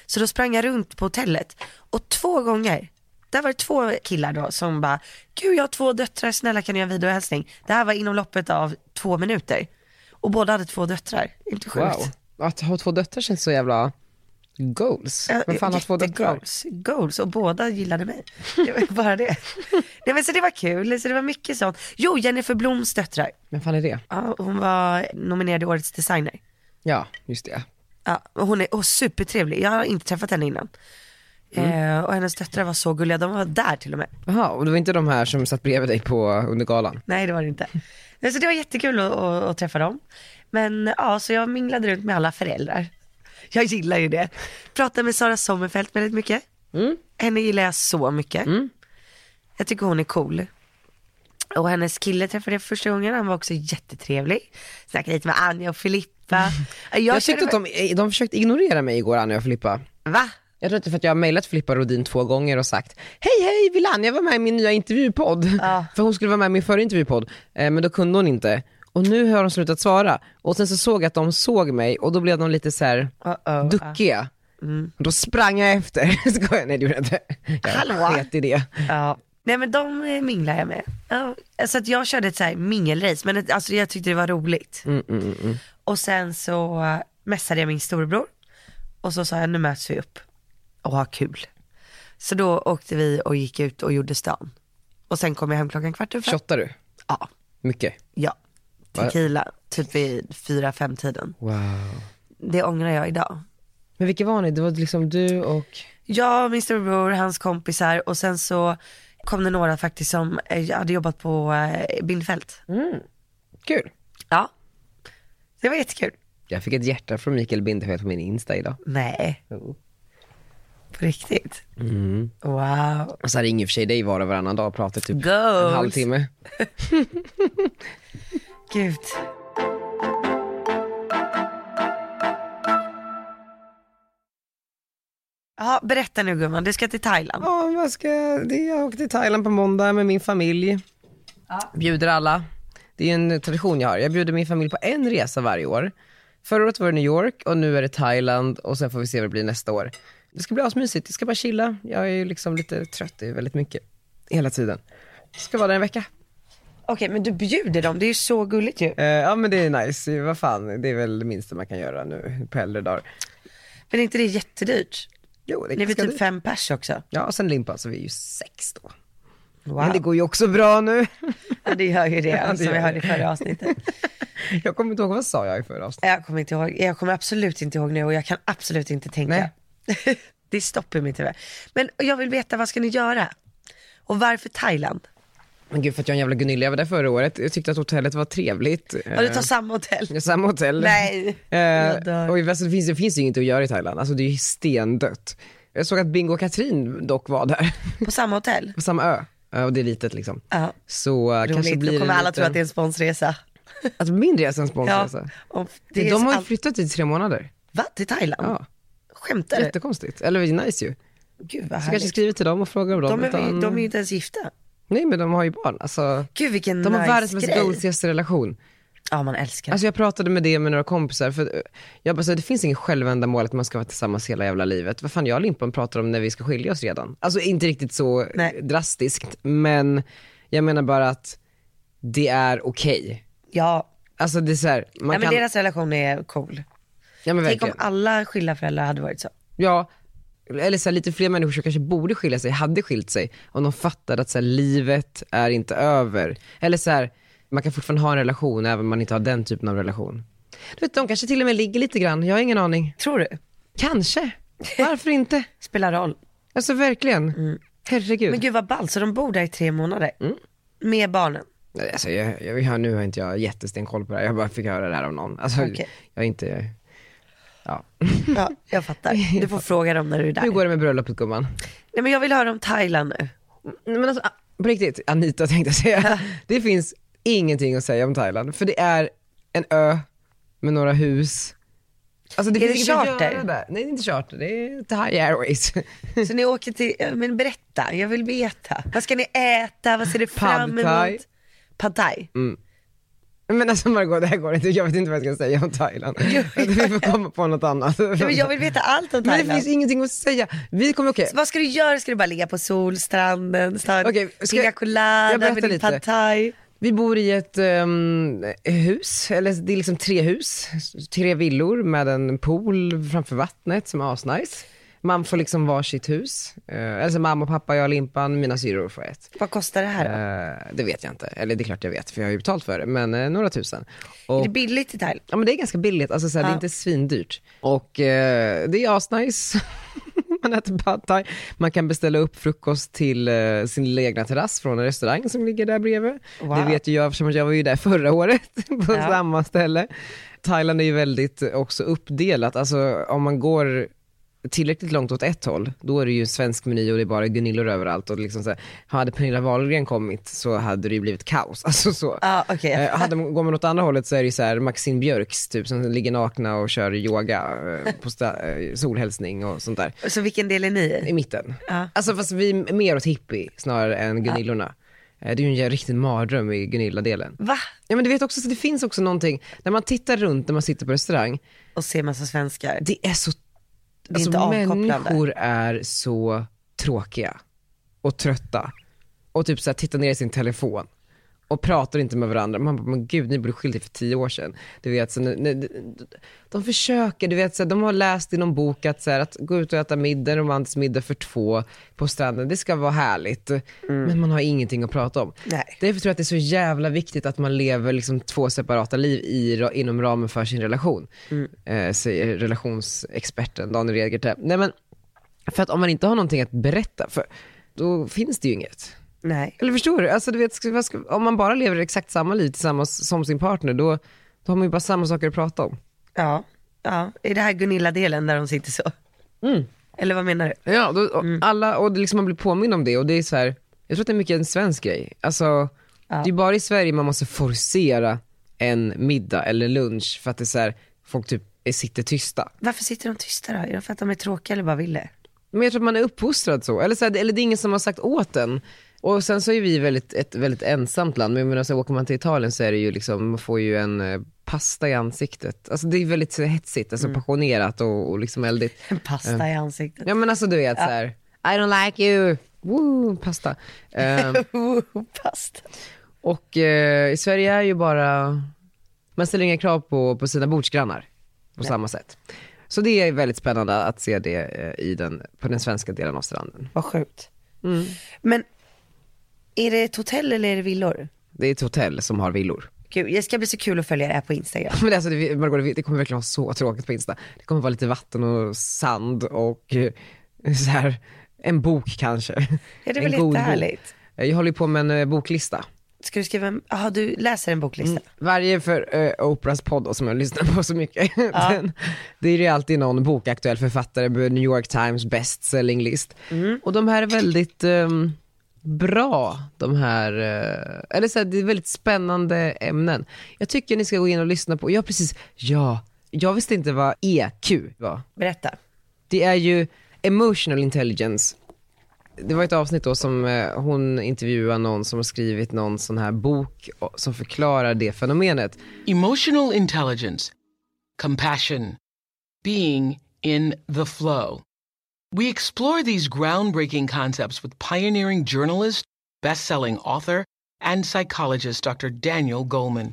Speaker 2: Så då sprang jag runt på hotellet och två gånger, där var det två killar då som bara, gud jag har två döttrar, snälla kan jag göra en videohälsning? Det här var inom loppet av två minuter. Och båda hade två döttrar, inte sjukt.
Speaker 1: Wow. att ha två döttrar känns så jävla goals.
Speaker 2: Ja,
Speaker 1: Men fan har två döttrar?
Speaker 2: jättegoals. Goals och båda gillade mig. Det var bara det. Nej, men så det var kul, så det var mycket sånt. Jo, Jennifer Bloms döttrar.
Speaker 1: Men fan är det?
Speaker 2: Ja, hon var nominerad i årets designer.
Speaker 1: Ja, just det.
Speaker 2: Ja, och hon är och supertrevlig, jag har inte träffat henne innan.
Speaker 1: Mm.
Speaker 2: Eh, och hennes döttrar var så gulliga, de var där till och med.
Speaker 1: Jaha, och det var inte de här som satt bredvid dig på under galan?
Speaker 2: Nej det var det inte. Nej, Så det var jättekul att, att, att träffa dem. Men ja, så jag minglade runt med alla föräldrar. Jag gillar ju det. Pratade med Sara Sommerfeld väldigt mycket.
Speaker 1: Mm.
Speaker 2: Henne gillar jag så mycket. Jag tycker hon är cool. Och hennes kille träffade jag första gången, han var också jättetrevlig. Snackade lite med Anja och Filippa. Jag,
Speaker 1: Mm. Jag,
Speaker 2: kände
Speaker 1: tyckte att
Speaker 2: mig-
Speaker 1: de, de försökte ignorera mig igår, Anja och Filippa.
Speaker 2: Va?
Speaker 1: Jag tror inte för att jag har mejlat Filippa Rodin två gånger och sagt Hej hej, vill Anja vara med i min nya intervjupodd? För hon skulle vara med i min förra intervjupodd, eh, men då kunde hon inte. Och nu har de slutat svara. Och sen så såg jag att de såg mig och då blev de lite så här
Speaker 2: Uh-oh. Mm.
Speaker 1: duckiga. Och då sprang jag efter. Skojar, nej det gjorde jag inte. Jag
Speaker 2: Hallå?
Speaker 1: sket i det.
Speaker 2: Ja. Nej men de eh, minglar jag med. Ja. Så att jag körde ett så här mingelrace, men ett, alltså jag tyckte det var roligt. mm, Och sen så eh, messade jag min storebror och så sa jag nu möts vi upp och har kul. Så då åkte vi och gick ut och gjorde stan. Och sen kom jag hem klockan kvart över fem.
Speaker 1: Shottar du?
Speaker 2: Ja,
Speaker 1: Mycket.
Speaker 2: ja.
Speaker 1: Va?
Speaker 2: Tequila, typ vid fyra, fem tiden.
Speaker 1: Wow.
Speaker 2: Det ångrar jag idag.
Speaker 1: Men vilka var ni? Det var liksom du och...
Speaker 2: Jag, min storebror, hans kompisar och sen så kom det några faktiskt som eh, hade jobbat på eh, Bindfält.
Speaker 1: Kul.
Speaker 2: Ja. Det var jättekul.
Speaker 1: Jag fick ett hjärta från Mikael Bindefeld på min Insta idag.
Speaker 2: Nej, på riktigt. Wow.
Speaker 1: Och så här ringer i och för sig dig var och varannan dag och pratar typ Mm. en
Speaker 2: Goals.
Speaker 1: halvtimme.
Speaker 2: Gud. Ja, berätta nu gumman, du ska till Thailand.
Speaker 1: Ja, vad ska jag... det- Jag åker till Thailand på måndag med min familj. Bjuder alla. Det är en tradition jag har. Jag bjuder min familj på en resa varje år. Förra året var det New York och nu är det Thailand och sen får vi se vad det blir nästa år. Det ska bli asmysigt. Jag ska bara chilla. Jag är ju liksom lite trött. Det är väldigt mycket hela tiden. Jag ska vara där en vecka.
Speaker 2: Okej, men du bjuder dem, det är ju så gulligt ju.
Speaker 1: Eh, ja men det är nice. Vad fan, det är väl det minsta man kan göra nu på äldre dagar.
Speaker 2: Men är inte det jättedyrt?
Speaker 1: Jo, det
Speaker 2: Ni är väl
Speaker 1: ska
Speaker 2: typ
Speaker 1: du-
Speaker 2: fem pers också?
Speaker 1: Ja, och sen limpa så vi är ju sex då.
Speaker 2: Wow.
Speaker 1: Men det går ju också bra nu.
Speaker 2: ja, det gör ju det,
Speaker 1: det
Speaker 2: som
Speaker 1: gör
Speaker 2: vi hörde i
Speaker 1: det.
Speaker 2: förra avsnittet.
Speaker 1: Jag kommer inte ihåg, vad sa jag i förra avsnittet?
Speaker 2: Jag kommer inte ihåg, jag kommer absolut inte ihåg nu och jag kan absolut inte tänka. det är stopp i mitt huvud. Men jag vill veta, vad ska ni göra? Och varför Thailand?
Speaker 1: Men gud för att jag är en jävla Gunilla, jag var där förra året. Jag tyckte att hotellet var trevligt.
Speaker 2: Ja, du tar samma hotell.
Speaker 1: Eh, samma hotell.
Speaker 2: Nej, jag
Speaker 1: Eh,
Speaker 2: dör.
Speaker 1: och i väst det finns det finns ju inget att göra i Thailand, alltså det är ju stendött. Jag såg att Bingo och Katrin dock var där,
Speaker 2: På samma hotell?
Speaker 1: på samma ö. Eh, Och det är litet liksom.
Speaker 2: Ja.
Speaker 1: Så eh, kanske
Speaker 2: Roligt,
Speaker 1: blir
Speaker 2: då kommer
Speaker 1: det
Speaker 2: alla
Speaker 1: lite...
Speaker 2: tro att det är en sponsresa.
Speaker 1: Att min resa är en alltså. sponsorresa.
Speaker 2: och det
Speaker 1: De
Speaker 2: är
Speaker 1: har ju
Speaker 2: så allt-
Speaker 1: flyttat i tre månader.
Speaker 2: Va? Till Thailand?
Speaker 1: Ja.
Speaker 2: Skämtar du?
Speaker 1: Jättekonstigt. Eller det är nice ju.
Speaker 2: Gud vad
Speaker 1: Så kanske
Speaker 2: härligt.
Speaker 1: skriver till dem och frågar om
Speaker 2: De
Speaker 1: dem.
Speaker 2: är,
Speaker 1: utan-
Speaker 2: de är ju inte ens gifta.
Speaker 1: Nej men de har ju barn. Alltså,
Speaker 2: Gud vilken
Speaker 1: de har
Speaker 2: nice
Speaker 1: världens mest
Speaker 2: grej.
Speaker 1: gosigaste relation.
Speaker 2: Ja man älskar det.
Speaker 1: Alltså jag pratade med det med några kompisar, för eh, jag bara så här, det finns inget självändamål att man ska vara tillsammans hela jävla livet. Vad fan jag och Limpan pratar om när vi ska skilja oss redan. Alltså inte riktigt så
Speaker 2: Nej.
Speaker 1: drastiskt, men jag menar bara att det är okej.
Speaker 2: Ja.
Speaker 1: Alltså det är så här, man
Speaker 2: ja men
Speaker 1: kan...
Speaker 2: deras relation är cool.
Speaker 1: Ja, men
Speaker 2: Tänk om
Speaker 1: verkligen.
Speaker 2: alla skilda föräldrar hade varit så.
Speaker 1: Ja, eller så här, lite fler människor som kanske borde skilja sig, hade skilt sig om de fattade att så här, livet är inte över. Eller så här, man kan fortfarande ha en relation även om man inte har den typen av relation. Du vet, de kanske till och med ligger lite grann, jag har ingen aning.
Speaker 2: Tror du?
Speaker 1: Kanske, varför inte?
Speaker 2: Spelar roll.
Speaker 1: Alltså verkligen. Herregud.
Speaker 2: Mm. Men gud vad ballt, så de bor där i tre månader.
Speaker 1: Mm.
Speaker 2: Med barnen.
Speaker 1: Nej, Alltså, jag, jag, jag, nu har inte jag jättesten koll på det här, jag bara fick höra det här av någon. Alltså,
Speaker 2: Okej.
Speaker 1: jag är inte... Ja.
Speaker 2: Ja, jag fattar. Du får fråga dem när du är där.
Speaker 1: Hur går det med bröllopet gumman?
Speaker 2: Nej men jag vill höra om Thailand nu.
Speaker 1: Nej, men alltså, a- på riktigt, Anita tänkte jag säga. Det finns ingenting att säga om Thailand. För det är en ö med några hus. Alltså det
Speaker 2: Är
Speaker 1: finns
Speaker 2: det
Speaker 1: inget att
Speaker 2: charter?
Speaker 1: göra där. Nej det är inte charter, det är Thai Airways.
Speaker 2: Så ni åker till, ja, men berätta, jag vill veta. Vad ska ni äta, vad ser ni fram
Speaker 1: Pad thai. Mm.
Speaker 2: emot? Pad thai.
Speaker 1: Men alltså Margot, det här går inte. Jag vet inte vad jag ska säga om Thailand. Vi får komma på något annat.
Speaker 2: Ja, men jag vill veta allt om
Speaker 1: Men
Speaker 2: Thailand.
Speaker 1: det finns ingenting att säga. Vi kommer, okej.
Speaker 2: Vad ska du göra? Ska du bara ligga på solstranden, ta en
Speaker 1: Okej, ska-
Speaker 2: pina colada
Speaker 1: jag berättar
Speaker 2: med din
Speaker 1: lite.
Speaker 2: pad thai?
Speaker 1: Vi bor i ett ehm, hus, eller det är liksom tre hus, tre villor med en pool framför vattnet som är asnice. Man får liksom var sitt hus. Eh, alltså mamma, pappa, jag, Limpan, mina syrror får ett.
Speaker 2: Vad kostar det här?
Speaker 1: Eh, det vet jag inte, eller det är klart jag vet för jag har ju betalt för det, men eh, några tusen. Och-
Speaker 2: Är det billigt i Thailand?
Speaker 1: Ja men det är ganska billigt, alltså såhär, det är inte svindyrt. Och eh, det är asnice. man äter pad thai. Man kan beställa upp frukost till eh, sin lilla egna terrass från en restaurang som ligger där bredvid.
Speaker 2: Wow.
Speaker 1: Det vet ju jag eftersom jag var ju där förra året på
Speaker 2: Ja.
Speaker 1: samma ställe. Thailand är ju väldigt eh, också uppdelat, alltså om man går tillräckligt långt åt ett håll, då är det ju en svensk meny och det är bara Gunillor överallt och liksom så här, hade Pernilla Wahlgren kommit så hade det ju blivit kaos. Alltså så.
Speaker 2: Ja, okej.
Speaker 1: Eh, hade, man- går man åt andra hållet så är det ju så här Maxine Björks typ som ligger nakna och kör yoga eh, på sta- eh, solhälsning och sånt där
Speaker 2: Så vilken del är ni i?
Speaker 1: i mitten.
Speaker 2: Ja.
Speaker 1: Alltså fast vi är mer åt hippie snarare än Gunillorna. Eh, Det är ju en riktig mardröm i Gunilla-delen.
Speaker 2: Va?
Speaker 1: Ja men du vet också så det finns också någonting, när man tittar runt när man sitter på restaurang,
Speaker 2: Och se massa svenskar.
Speaker 1: det är så,
Speaker 2: är
Speaker 1: alltså
Speaker 2: inte avkopplande.
Speaker 1: människor är så tråkiga och trötta och typ så här, tittar ner i sin telefon och pratar inte med varandra. Man bara, men gud ni borde skilt er för tio år sedan. Du vet, så, nu- nu- de försöker, du vet, så här, de har läst i någon bok att, så här, att gå ut och äta middag, en romantisk middag för två på stranden, det ska vara härligt. Men man har ingenting att prata om.
Speaker 2: Nej.
Speaker 1: Därför tror jag att det är så jävla viktigt att man lever liksom två separata liv i, ra- inom ramen för sin relation. Eh, säger relationsexperten Daniel Redgert. Nej men, för att om man inte har någonting att berätta, för, då finns det ju inget.
Speaker 2: Nej.
Speaker 1: Eller förstår du? Alltså, du vet, ska- vad ska, om man bara lever exakt samma liv tillsammans som sin partner, då, då har man ju bara samma saker att prata om.
Speaker 2: Ja. ja. Är det här Gunilla-delen där de sitter så?
Speaker 1: Mm.
Speaker 2: Eller vad menar du?
Speaker 1: Ja, då, och alla, och det liksom man blir påmind om det och det är så här, jag tror att det är mycket en svensk grej. Alltså, det är ju bara i Sverige man måste forcera en middag eller lunch för att det är så här, folk typ är- sitter tysta.
Speaker 2: Varför sitter de tysta då? Är det för att de är tråkiga eller bara vill det?
Speaker 1: Men jag tror att man är uppfostrad så, eller, så här, det- eller det är ingen som har sagt åt en. Och sen så är vi väldigt, ett väldigt ensamt land, men jag menar, så här, åker man till Italien så är det ju liksom, man får ju en eh, pasta i ansiktet. Alltså det är väldigt så här hetsigt, alltså passionerat och, och liksom eldigt.
Speaker 2: En pasta i ansiktet.
Speaker 1: Ja men alltså du vet så här, I don't like you, woo, pasta. Ehm,
Speaker 2: Woo, pasta.
Speaker 1: och eh, i Sverige är ju bara, man ställer inga krav på, på sina bordsgrannar på samma sätt. Så det är väldigt spännande att se det eh, i den, på den svenska delen av stranden.
Speaker 2: Vad sjukt.
Speaker 1: Mm.
Speaker 2: Men är det ett hotell eller är det villor?
Speaker 1: Det är ett hotell som har villor.
Speaker 2: Gud, det ska bli så kul att följa det här på Instagram.
Speaker 1: Men alltså, det, Margot, det- det kommer verkligen vara så tråkigt på Insta. Det kommer vara lite vatten och sand och eh, så här, en bok kanske.
Speaker 2: Ja, det är
Speaker 1: En god
Speaker 2: väl
Speaker 1: bok.
Speaker 2: jättehärligt.
Speaker 1: Jag håller ju på med en eh, boklista.
Speaker 2: Ska du skriva en... Jaha, du läser en boklista?
Speaker 1: Mm. Varje för eh, Oprahs podd då, som jag lyssnar på så mycket. Den, det är ju alltid någon bokaktuell författare på New York Times bestselling list. Och de här är väldigt ehm, bra, de här, eh, eller så här, det är väldigt spännande ämnen. Jag tycker ni ska gå in och lyssna på, ja precis, ja, jag visste inte vad EQ var.
Speaker 2: Berätta.
Speaker 1: Det är ju emotional intelligence. Det var ett avsnitt då som eh, hon intervjuade någon som har skrivit någon sån här bok eh, som förklarar det fenomenet.
Speaker 8: Emotional intelligence, compassion, being in the flow. We explore these groundbreaking concepts with pioneering journalist, best-selling author, and psychologist Dr. Daniel Goleman.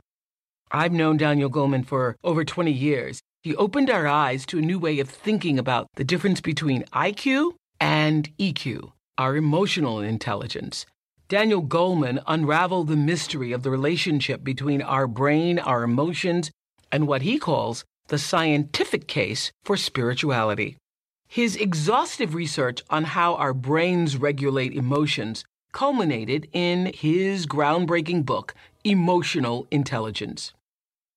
Speaker 8: I've known Daniel Goleman for over 20 years. He opened our eyes to a new way of thinking about the difference between IQ and EQ, our emotional intelligence. Daniel Goleman unraveled the mystery of the relationship between our brain, our emotions, and what he calls the scientific case for spirituality. His exhaustive research on how our brains regulate emotions culminated in his groundbreaking book, Emotional Intelligence.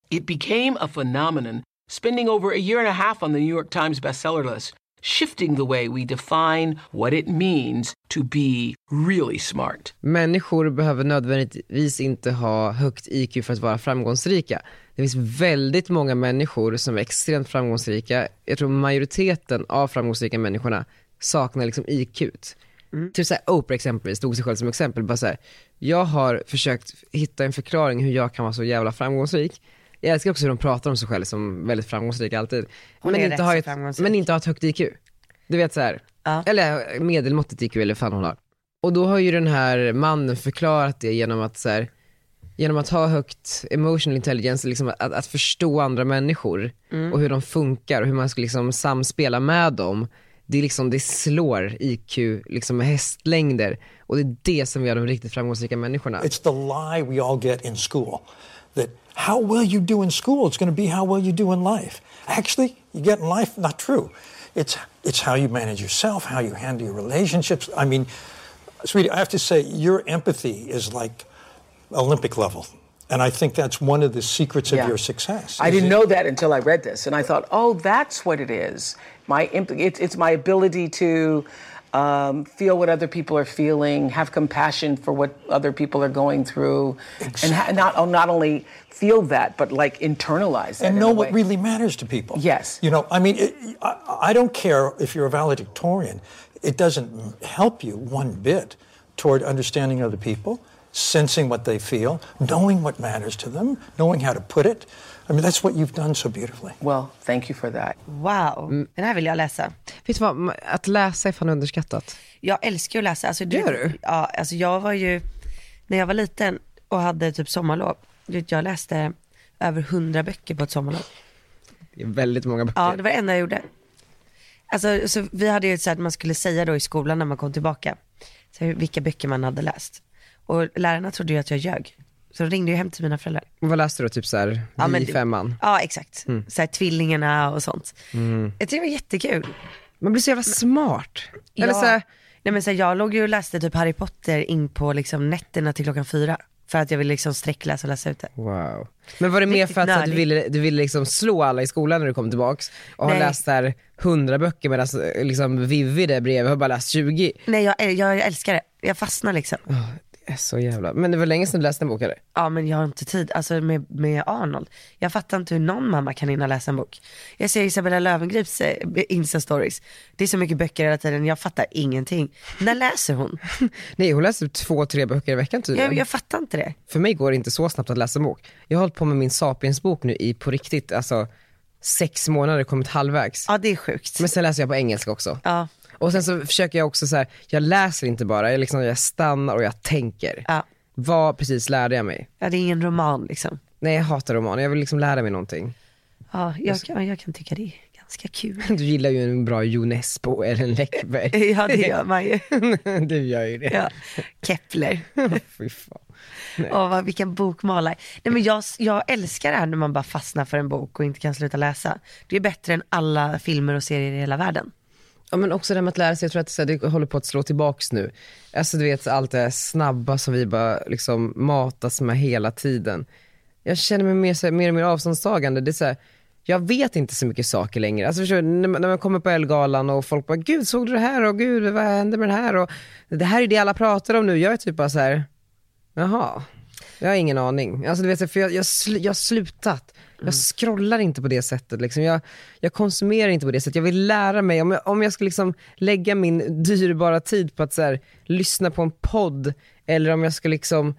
Speaker 8: It became a phenomenon, spending over a year and a half on the New York Times bestseller list, shifting the way we define what it means to be really smart.
Speaker 1: Människor behöver nödvändigtvis inte ha högt IQ för att vara framgångsrika. Det finns väldigt många människor som är extremt framgångsrika. Jag tror majoriteten av framgångsrika människorna saknar liksom IQ.
Speaker 2: Mm.
Speaker 1: Typ såhär Oprah exempelvis, tog sig själv som exempel. Bara så här, jag har försökt hitta en förklaring hur jag kan vara så jävla framgångsrik. Jag älskar också hur de pratar om sig själv som väldigt framgångsrik alltid.
Speaker 2: Hon är rätt
Speaker 1: inte har
Speaker 2: så
Speaker 1: ett,
Speaker 2: framgångsrik.
Speaker 1: men inte ha ett högt IQ. Du vet så här.
Speaker 2: Ja.
Speaker 1: eller medelmåttigt IQ eller vad fan hon har. Och då har ju den här mannen förklarat det genom att så här, genom att ha högt emotional intelligence, liksom att, att förstå andra människor
Speaker 2: Mm.
Speaker 1: och hur de funkar och hur man ska liksom samspela med dem. Det, är liksom, det slår IQ liksom med hästlängder och det är det som gör de riktigt framgångsrika människorna.
Speaker 9: It's the lie we all get in school that how well you do in school is going to be how well you do in life. Actually, you get in life, not true. It's, it's how you manage yourself, how you handle your relationships. I mean, sweetie, I have to say, your empathy is like Olympic level. And I think that's one of the secrets of
Speaker 10: Yeah.
Speaker 9: your success.
Speaker 10: I
Speaker 9: is
Speaker 10: didn't
Speaker 9: it-
Speaker 10: know that until I read this, and I thought, oh, that's what it is. My impl- it's, it's my ability to um, feel what other people are feeling, have compassion for what other people are going through, and ha- not oh, not only feel that, but like internalize that
Speaker 9: and
Speaker 10: in
Speaker 9: know
Speaker 10: a
Speaker 9: what
Speaker 10: way.
Speaker 9: really matters to people.
Speaker 10: Yes.
Speaker 9: You know, I mean, it, I, I don't care if you're a valedictorian. It doesn't help you one bit toward understanding other people, sensing what they feel, knowing what matters to them, knowing how to put it. I mean, that's what you've done so beautifully.
Speaker 10: Well, thank you for that.
Speaker 2: Wow, den här vill jag läsa.
Speaker 1: Vet du vad, ma- att läsa är fan underskattat.
Speaker 2: Jag älskar ju att läsa. Alltså,
Speaker 1: Gör du?
Speaker 2: Ja, alltså jag var ju, när jag var liten och hade typ sommarlov, du vet, jag läste över hundra böcker på ett sommarlov.
Speaker 1: Det är väldigt många böcker.
Speaker 2: Ja, det var det enda jag gjorde. Alltså, så vi hade ju så här att man skulle säga då i skolan när man kom tillbaka, så här, vilka böcker man hade läst. Och lärarna trodde ju att jag ljög. Så de ringde ju hem till mina föräldrar.
Speaker 1: Vad läste du då, typ såhär, ja,
Speaker 2: men
Speaker 1: i
Speaker 2: det-
Speaker 1: femman? Mm.
Speaker 2: Ja, exakt. Så här, tvillingarna och sånt. Jag tyckte det var jättekul.
Speaker 1: Man blir så jävla smart. Eller
Speaker 2: ja.
Speaker 1: såhär,
Speaker 2: Nej, men så här, jag låg ju och läste typ Harry Potter in på liksom, nätterna till klockan fyra. För att jag ville liksom sträckläsa och läsa ut det.
Speaker 1: Wow. Men var det mer
Speaker 2: Riktigt
Speaker 1: för att, så att du
Speaker 2: nördigt.
Speaker 1: ville, du ville liksom slå alla i skolan när du kom tillbaks och har
Speaker 2: Nej.
Speaker 1: läst där hundra böcker medan eh, liksom Vivi där bredvid har bara läst 20?
Speaker 2: Nej jag, äl- jag, jag älskar det. Jag fastnar liksom.
Speaker 1: Åh, det är så jävla... Men det var länge sedan du läste en bok eller?
Speaker 2: Ja men jag har inte tid. Alltså med, med Arnold. Jag fattar inte hur någon mamma kan hinna läsa en bok. Jag ser Isabella Löwengrips eh, Insta-stories. Det är så mycket böcker hela tiden. Jag fattar ingenting. När läser hon?
Speaker 1: Nej hon läser typ två, tre böcker i veckan tydligen.
Speaker 2: Jag, jag fattar inte det.
Speaker 1: För mig går det inte så snabbt att läsa en bok. Jag har hållit på med min Sapiens-bok nu i på riktigt, alltså sex månader, kommit halvvägs.
Speaker 2: Ja det är sjukt.
Speaker 1: Men sen läser jag på engelska också.
Speaker 2: Ja.
Speaker 1: Och sen så försöker jag också så här, jag läser inte bara, jag, liksom, jag stannar och jag tänker.
Speaker 2: Ja.
Speaker 1: Vad precis lärde jag mig?
Speaker 2: ja det är ingen roman liksom.
Speaker 1: Nej jag hatar romaner, jag vill liksom lära mig någonting.
Speaker 2: Ja jag kan, jag kan tycka det är ganska kul.
Speaker 1: Du gillar ju en bra Jonesbo eller en Läckberg.
Speaker 2: Ja det gör man ju.
Speaker 1: du gör ju det.
Speaker 2: Ja. Kepler.
Speaker 1: Fy fan.
Speaker 2: Åh, vad, vilken bokmalare. Nej, men jag, jag älskar det här när man bara fastnar för en bok och inte kan sluta läsa. Det är bättre än alla filmer och serier i hela världen.
Speaker 1: Ja men också det här med att lära sig, jag tror att det, är så här, det håller på att slå tillbaks nu. Alltså du vet allt det här snabba som vi bara liksom matas med hela tiden. Jag känner mig mer, så här, mer och mer avståndstagande. Det är så här, jag vet inte så mycket saker längre. Alltså förstår, du, när, man, när man kommer på Elgalan och folk bara, gud såg du det här och gud vad hände med det här och det här är det alla pratar om nu. Jag är typ bara så här, jaha, jag har ingen aning. Alltså du vet, så här, för jag, jag, sl, jag har slutat. Jag scrollar inte på det sättet. Liksom. Jag, jag konsumerar inte på det sättet. Jag vill lära mig. Om jag, om jag ska liksom lägga min dyrbara tid på att så här, lyssna på en podd eller om jag ska liksom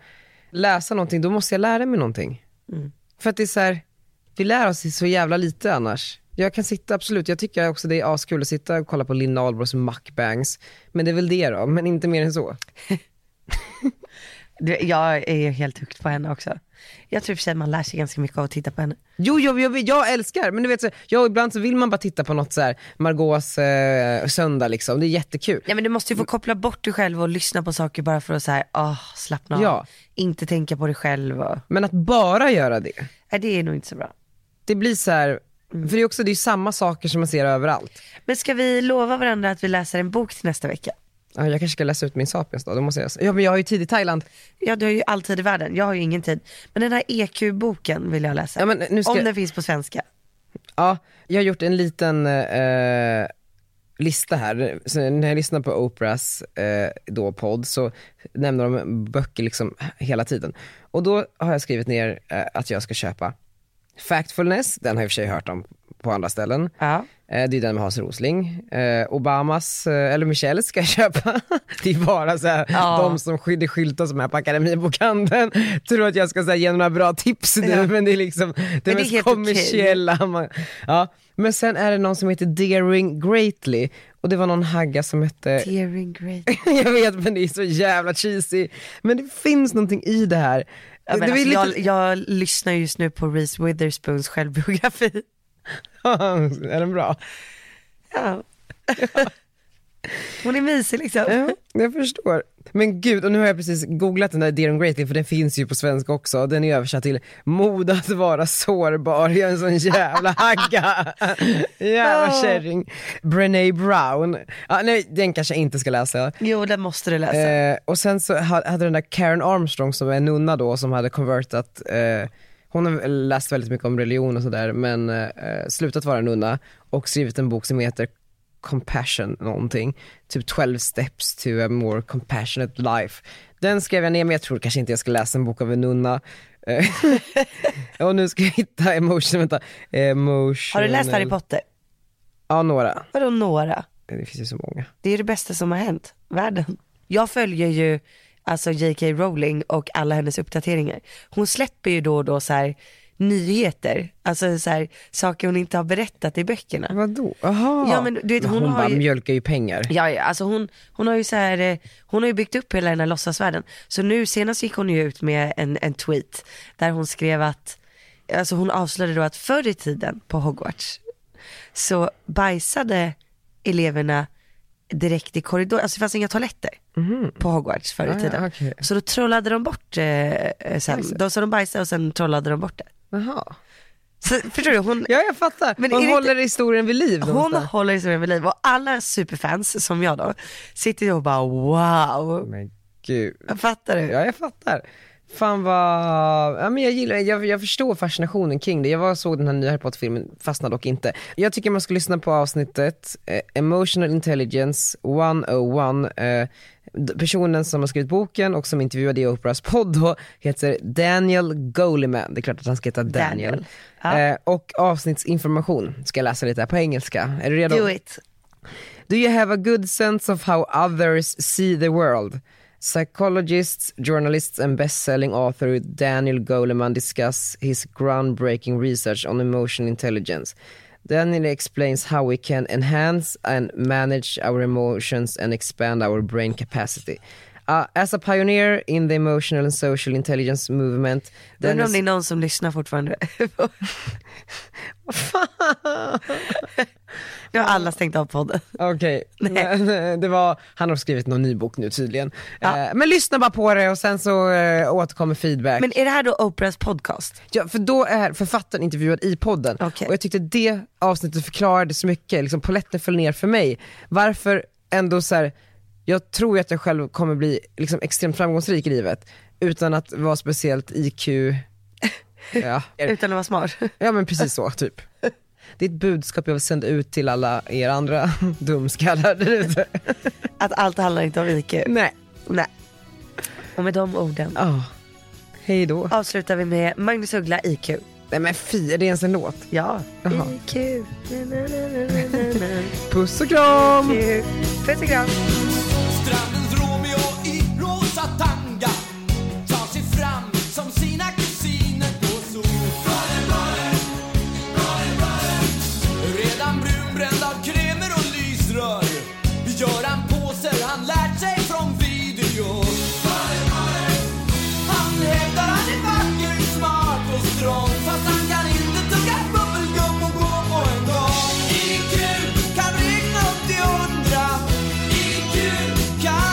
Speaker 1: läsa någonting, då måste jag lära mig någonting. För att det är så här, vi lär oss så jävla lite annars. Jag kan sitta, absolut, jag tycker också det är askul att sitta och kolla på Linn Ahlborgs mukbangs. Men det är väl det då, men inte mer än så.
Speaker 2: Du, Jag är ju helt hooked på henne också. Jag tror i och för sig man lär sig ganska mycket av att titta på henne.
Speaker 1: Jo, jo, jo jag älskar, men du vet, så, jag, ibland så vill man bara titta på något så här, Margaux eh, söndag liksom, det är jättekul.
Speaker 2: Ja, men du måste ju få koppla bort dig själv och lyssna på saker bara för att så här, ah, slappna av.
Speaker 1: Ja.
Speaker 2: Inte tänka på dig själv. Och...
Speaker 1: Men att bara göra det,
Speaker 2: Nej, det är nog inte så bra.
Speaker 1: det blir så här, för det är också det är ju samma saker som man ser överallt.
Speaker 2: Men ska vi lova varandra att vi läser en bok till nästa vecka?
Speaker 1: Ja, jag kanske ska läsa ut min Sapiens då, då måste jag, ja men jag har ju tid i Thailand.
Speaker 2: Ja, du har ju all tid i världen. Jag har ju ingen tid. Men den här EQ-boken vill jag läsa.
Speaker 1: Ja, men nu ska-
Speaker 2: Om den finns på svenska.
Speaker 1: Ja, jag har gjort en liten eh, lista här. Så när jag lyssnar på Oprahs eh, då podd så nämner de böcker liksom hela tiden. Och då har jag skrivit ner eh, att jag ska köpa Factfulness, den har jag i och för sig hört om på andra ställen.
Speaker 2: Ja.
Speaker 1: Eh, Det är den med Hans Rosling. Eh, Obamas, eh, eller Michelles ska jag köpa. Det är bara så här,
Speaker 2: Ja.
Speaker 1: de som skydd- det skyltas med på Akademibokhandeln tror att jag ska så här, ge några bra tips nu men det är liksom det
Speaker 2: det är
Speaker 1: mest
Speaker 2: helt okej.
Speaker 1: kommersiella. man- Ja. Men sen är det någon som heter Daring Greatly Och det var någon hagga som hette
Speaker 2: Tearing great.
Speaker 1: Jag vet men det är så jävla cheesy. Men det finns någonting i det här.
Speaker 2: Jag,
Speaker 1: det
Speaker 2: menar,
Speaker 1: var ju
Speaker 2: alltså,
Speaker 1: lite-
Speaker 2: jag, jag lyssnar just nu på Reese Witherspoons självbiografi.
Speaker 1: är den bra?
Speaker 2: Ja. Hon är mysig liksom.
Speaker 1: Ja, jag förstår. Men gud, och nu har jag precis googlat den där Dear and Greatly för den finns ju på svenska också. Den är översatt till mod att vara sårbar. Jag är en sån jävla hagga. jävla kärring. Brené Brown. Ja, nej, den kanske jag inte ska läsa.
Speaker 2: Jo, den måste du läsa.
Speaker 1: Eh, och sen så ha- hade den där Karen Armstrong som är nunna då som hade convertat, eh, hon har läst väldigt mycket om religion och sådär men eh, slutat vara nunna och skrivit en bok som heter Compassion någonting, typ 12 steps to a more compassionate life. Den skrev jag ner men jag tror kanske inte jag ska läsa en bok av en nunna. Eh, och nu ska jag hitta emotion, vänta. Emotional.
Speaker 2: Har du läst Harry Potter?
Speaker 1: Ja några,
Speaker 2: Vadå några?
Speaker 1: det finns ju så många.
Speaker 2: Det är det bästa som har hänt världen. Jag följer ju alltså J.K. Rowling och alla hennes uppdateringar. Hon släpper ju då och då så här nyheter, alltså så här, saker hon inte har berättat i böckerna.
Speaker 1: Vadå? Aha.
Speaker 2: Ja, men du vet, hon
Speaker 1: hon
Speaker 2: har
Speaker 1: bara
Speaker 2: ju-
Speaker 1: mjölkar ju pengar.
Speaker 2: Ja, ja, alltså hon, hon har ju så här, eh, hon har ju byggt upp hela den här låtsasvärlden. Så nu senast gick hon ju ut med en, en tweet där hon skrev att, alltså hon avslöjade då att förr i tiden på Hogwarts så bajsade eleverna direkt i korridoren, alltså det fanns inga toaletter på Hogwarts förr
Speaker 1: Ah,
Speaker 2: i tiden.
Speaker 1: ja, okej.
Speaker 2: Så då trollade de bort eh, eh, sen, då så de bajsade och sen trollade de bort det.
Speaker 1: Jaha.
Speaker 2: Så, förstår du, hon,
Speaker 1: Ja jag fattar,
Speaker 2: Men är
Speaker 1: hon
Speaker 2: det
Speaker 1: håller historien vid liv
Speaker 2: Hon
Speaker 1: någonstans.
Speaker 2: håller historien vid liv och alla superfans som jag då sitter ju och bara wow.
Speaker 1: Men gud,
Speaker 2: Fattar du?
Speaker 1: ja jag fattar. Fan vad, ja, men jag gillar jag, jag förstår fascinationen kring det. Jag var och såg den här nya Harry Potter-filmen, fastnade dock inte. Jag tycker man ska lyssna på avsnittet eh, Emotional Intelligence 101. Eh, d- personen som har skrivit boken och som intervjuade i Oprahs podd då heter Daniel Goleman. Det är klart att han ska heta Daniel.
Speaker 2: Daniel. Ja.
Speaker 1: Eh, och avsnittsinformation ska jag läsa lite här på engelska. Är du redo?
Speaker 2: Do it.
Speaker 1: Do you have a good sense of how others see the world? Psychologists, journalists, and best-selling author Daniel Goleman discuss his groundbreaking research on emotional intelligence. Daniel explains how we can enhance and manage our emotions and expand our brain capacity. Uh, as a pioneer in the emotional and social intelligence movement,
Speaker 2: Undrar
Speaker 1: Daniel
Speaker 2: om det är någon som lyssnar fortfarande. nu har alla stängt av podden.
Speaker 1: Okej, men, eh, det var, han har skrivit någon ny bok nu tydligen. Eh, men lyssna bara på det och sen så eh, återkommer feedback.
Speaker 2: Men är det här då Oprahs podcast?
Speaker 1: ja, för då är författaren intervjuad i podden
Speaker 2: Okej.
Speaker 1: och jag tyckte det avsnittet förklarade så mycket, liksom polletten föll ner för mig. Varför ändå så här, jag tror ju att jag själv kommer bli liksom, extremt framgångsrik i livet utan att vara speciellt IQ, ja,
Speaker 2: Utan att vara smart.
Speaker 1: ja men precis så typ. Det är ett budskap jag vill sända ut till alla er andra dumskallar där ute.
Speaker 2: Att allt handlar inte om IQ.
Speaker 1: Nej.
Speaker 2: Nej. Och med de orden
Speaker 1: Ja. Hej då.
Speaker 2: avslutar vi med Magnus Uggla IQ.
Speaker 1: Nej men fy, är det ens en låt?
Speaker 2: Ja.
Speaker 1: Jaha.
Speaker 2: IQ. Na, na, na, na, na, na.
Speaker 1: Puss och kram!
Speaker 2: IQ. Puss och kram.
Speaker 11: Strandens Romeo i rosa tanga tar sig fram som sina kusiner på sol. Brother, brother, brother, brother. Redan brunbränd av kremer och lysrör gör han poser han lärt sig från videor. Brother, brother. Han hävdar han är vacker, smart och strong fast han kan inte tugga bubbelgum och gå på en gång. IQ kan räkna upp till hundra. IQ kan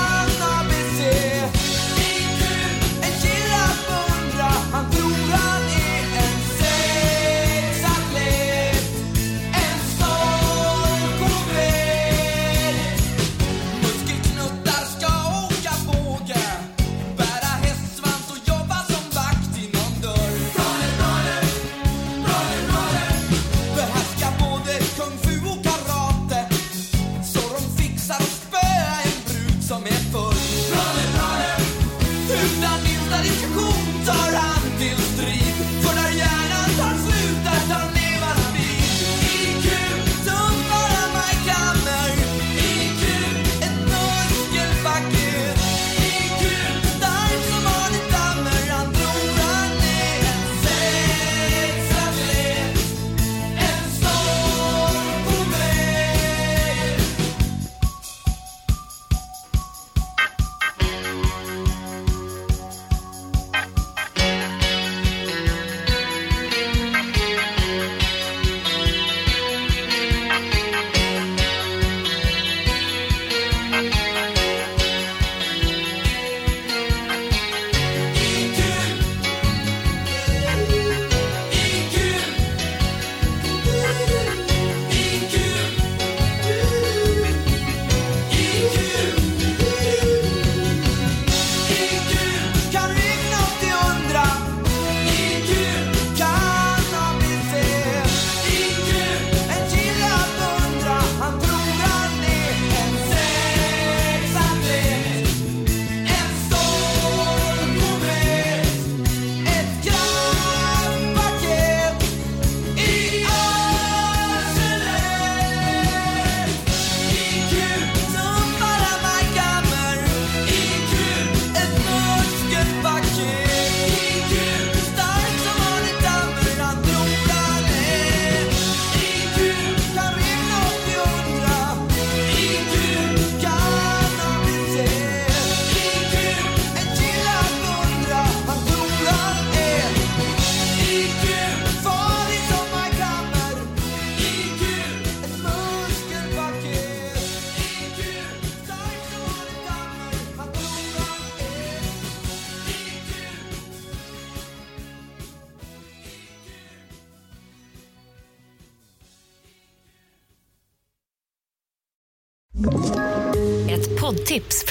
Speaker 8: Ett poddtips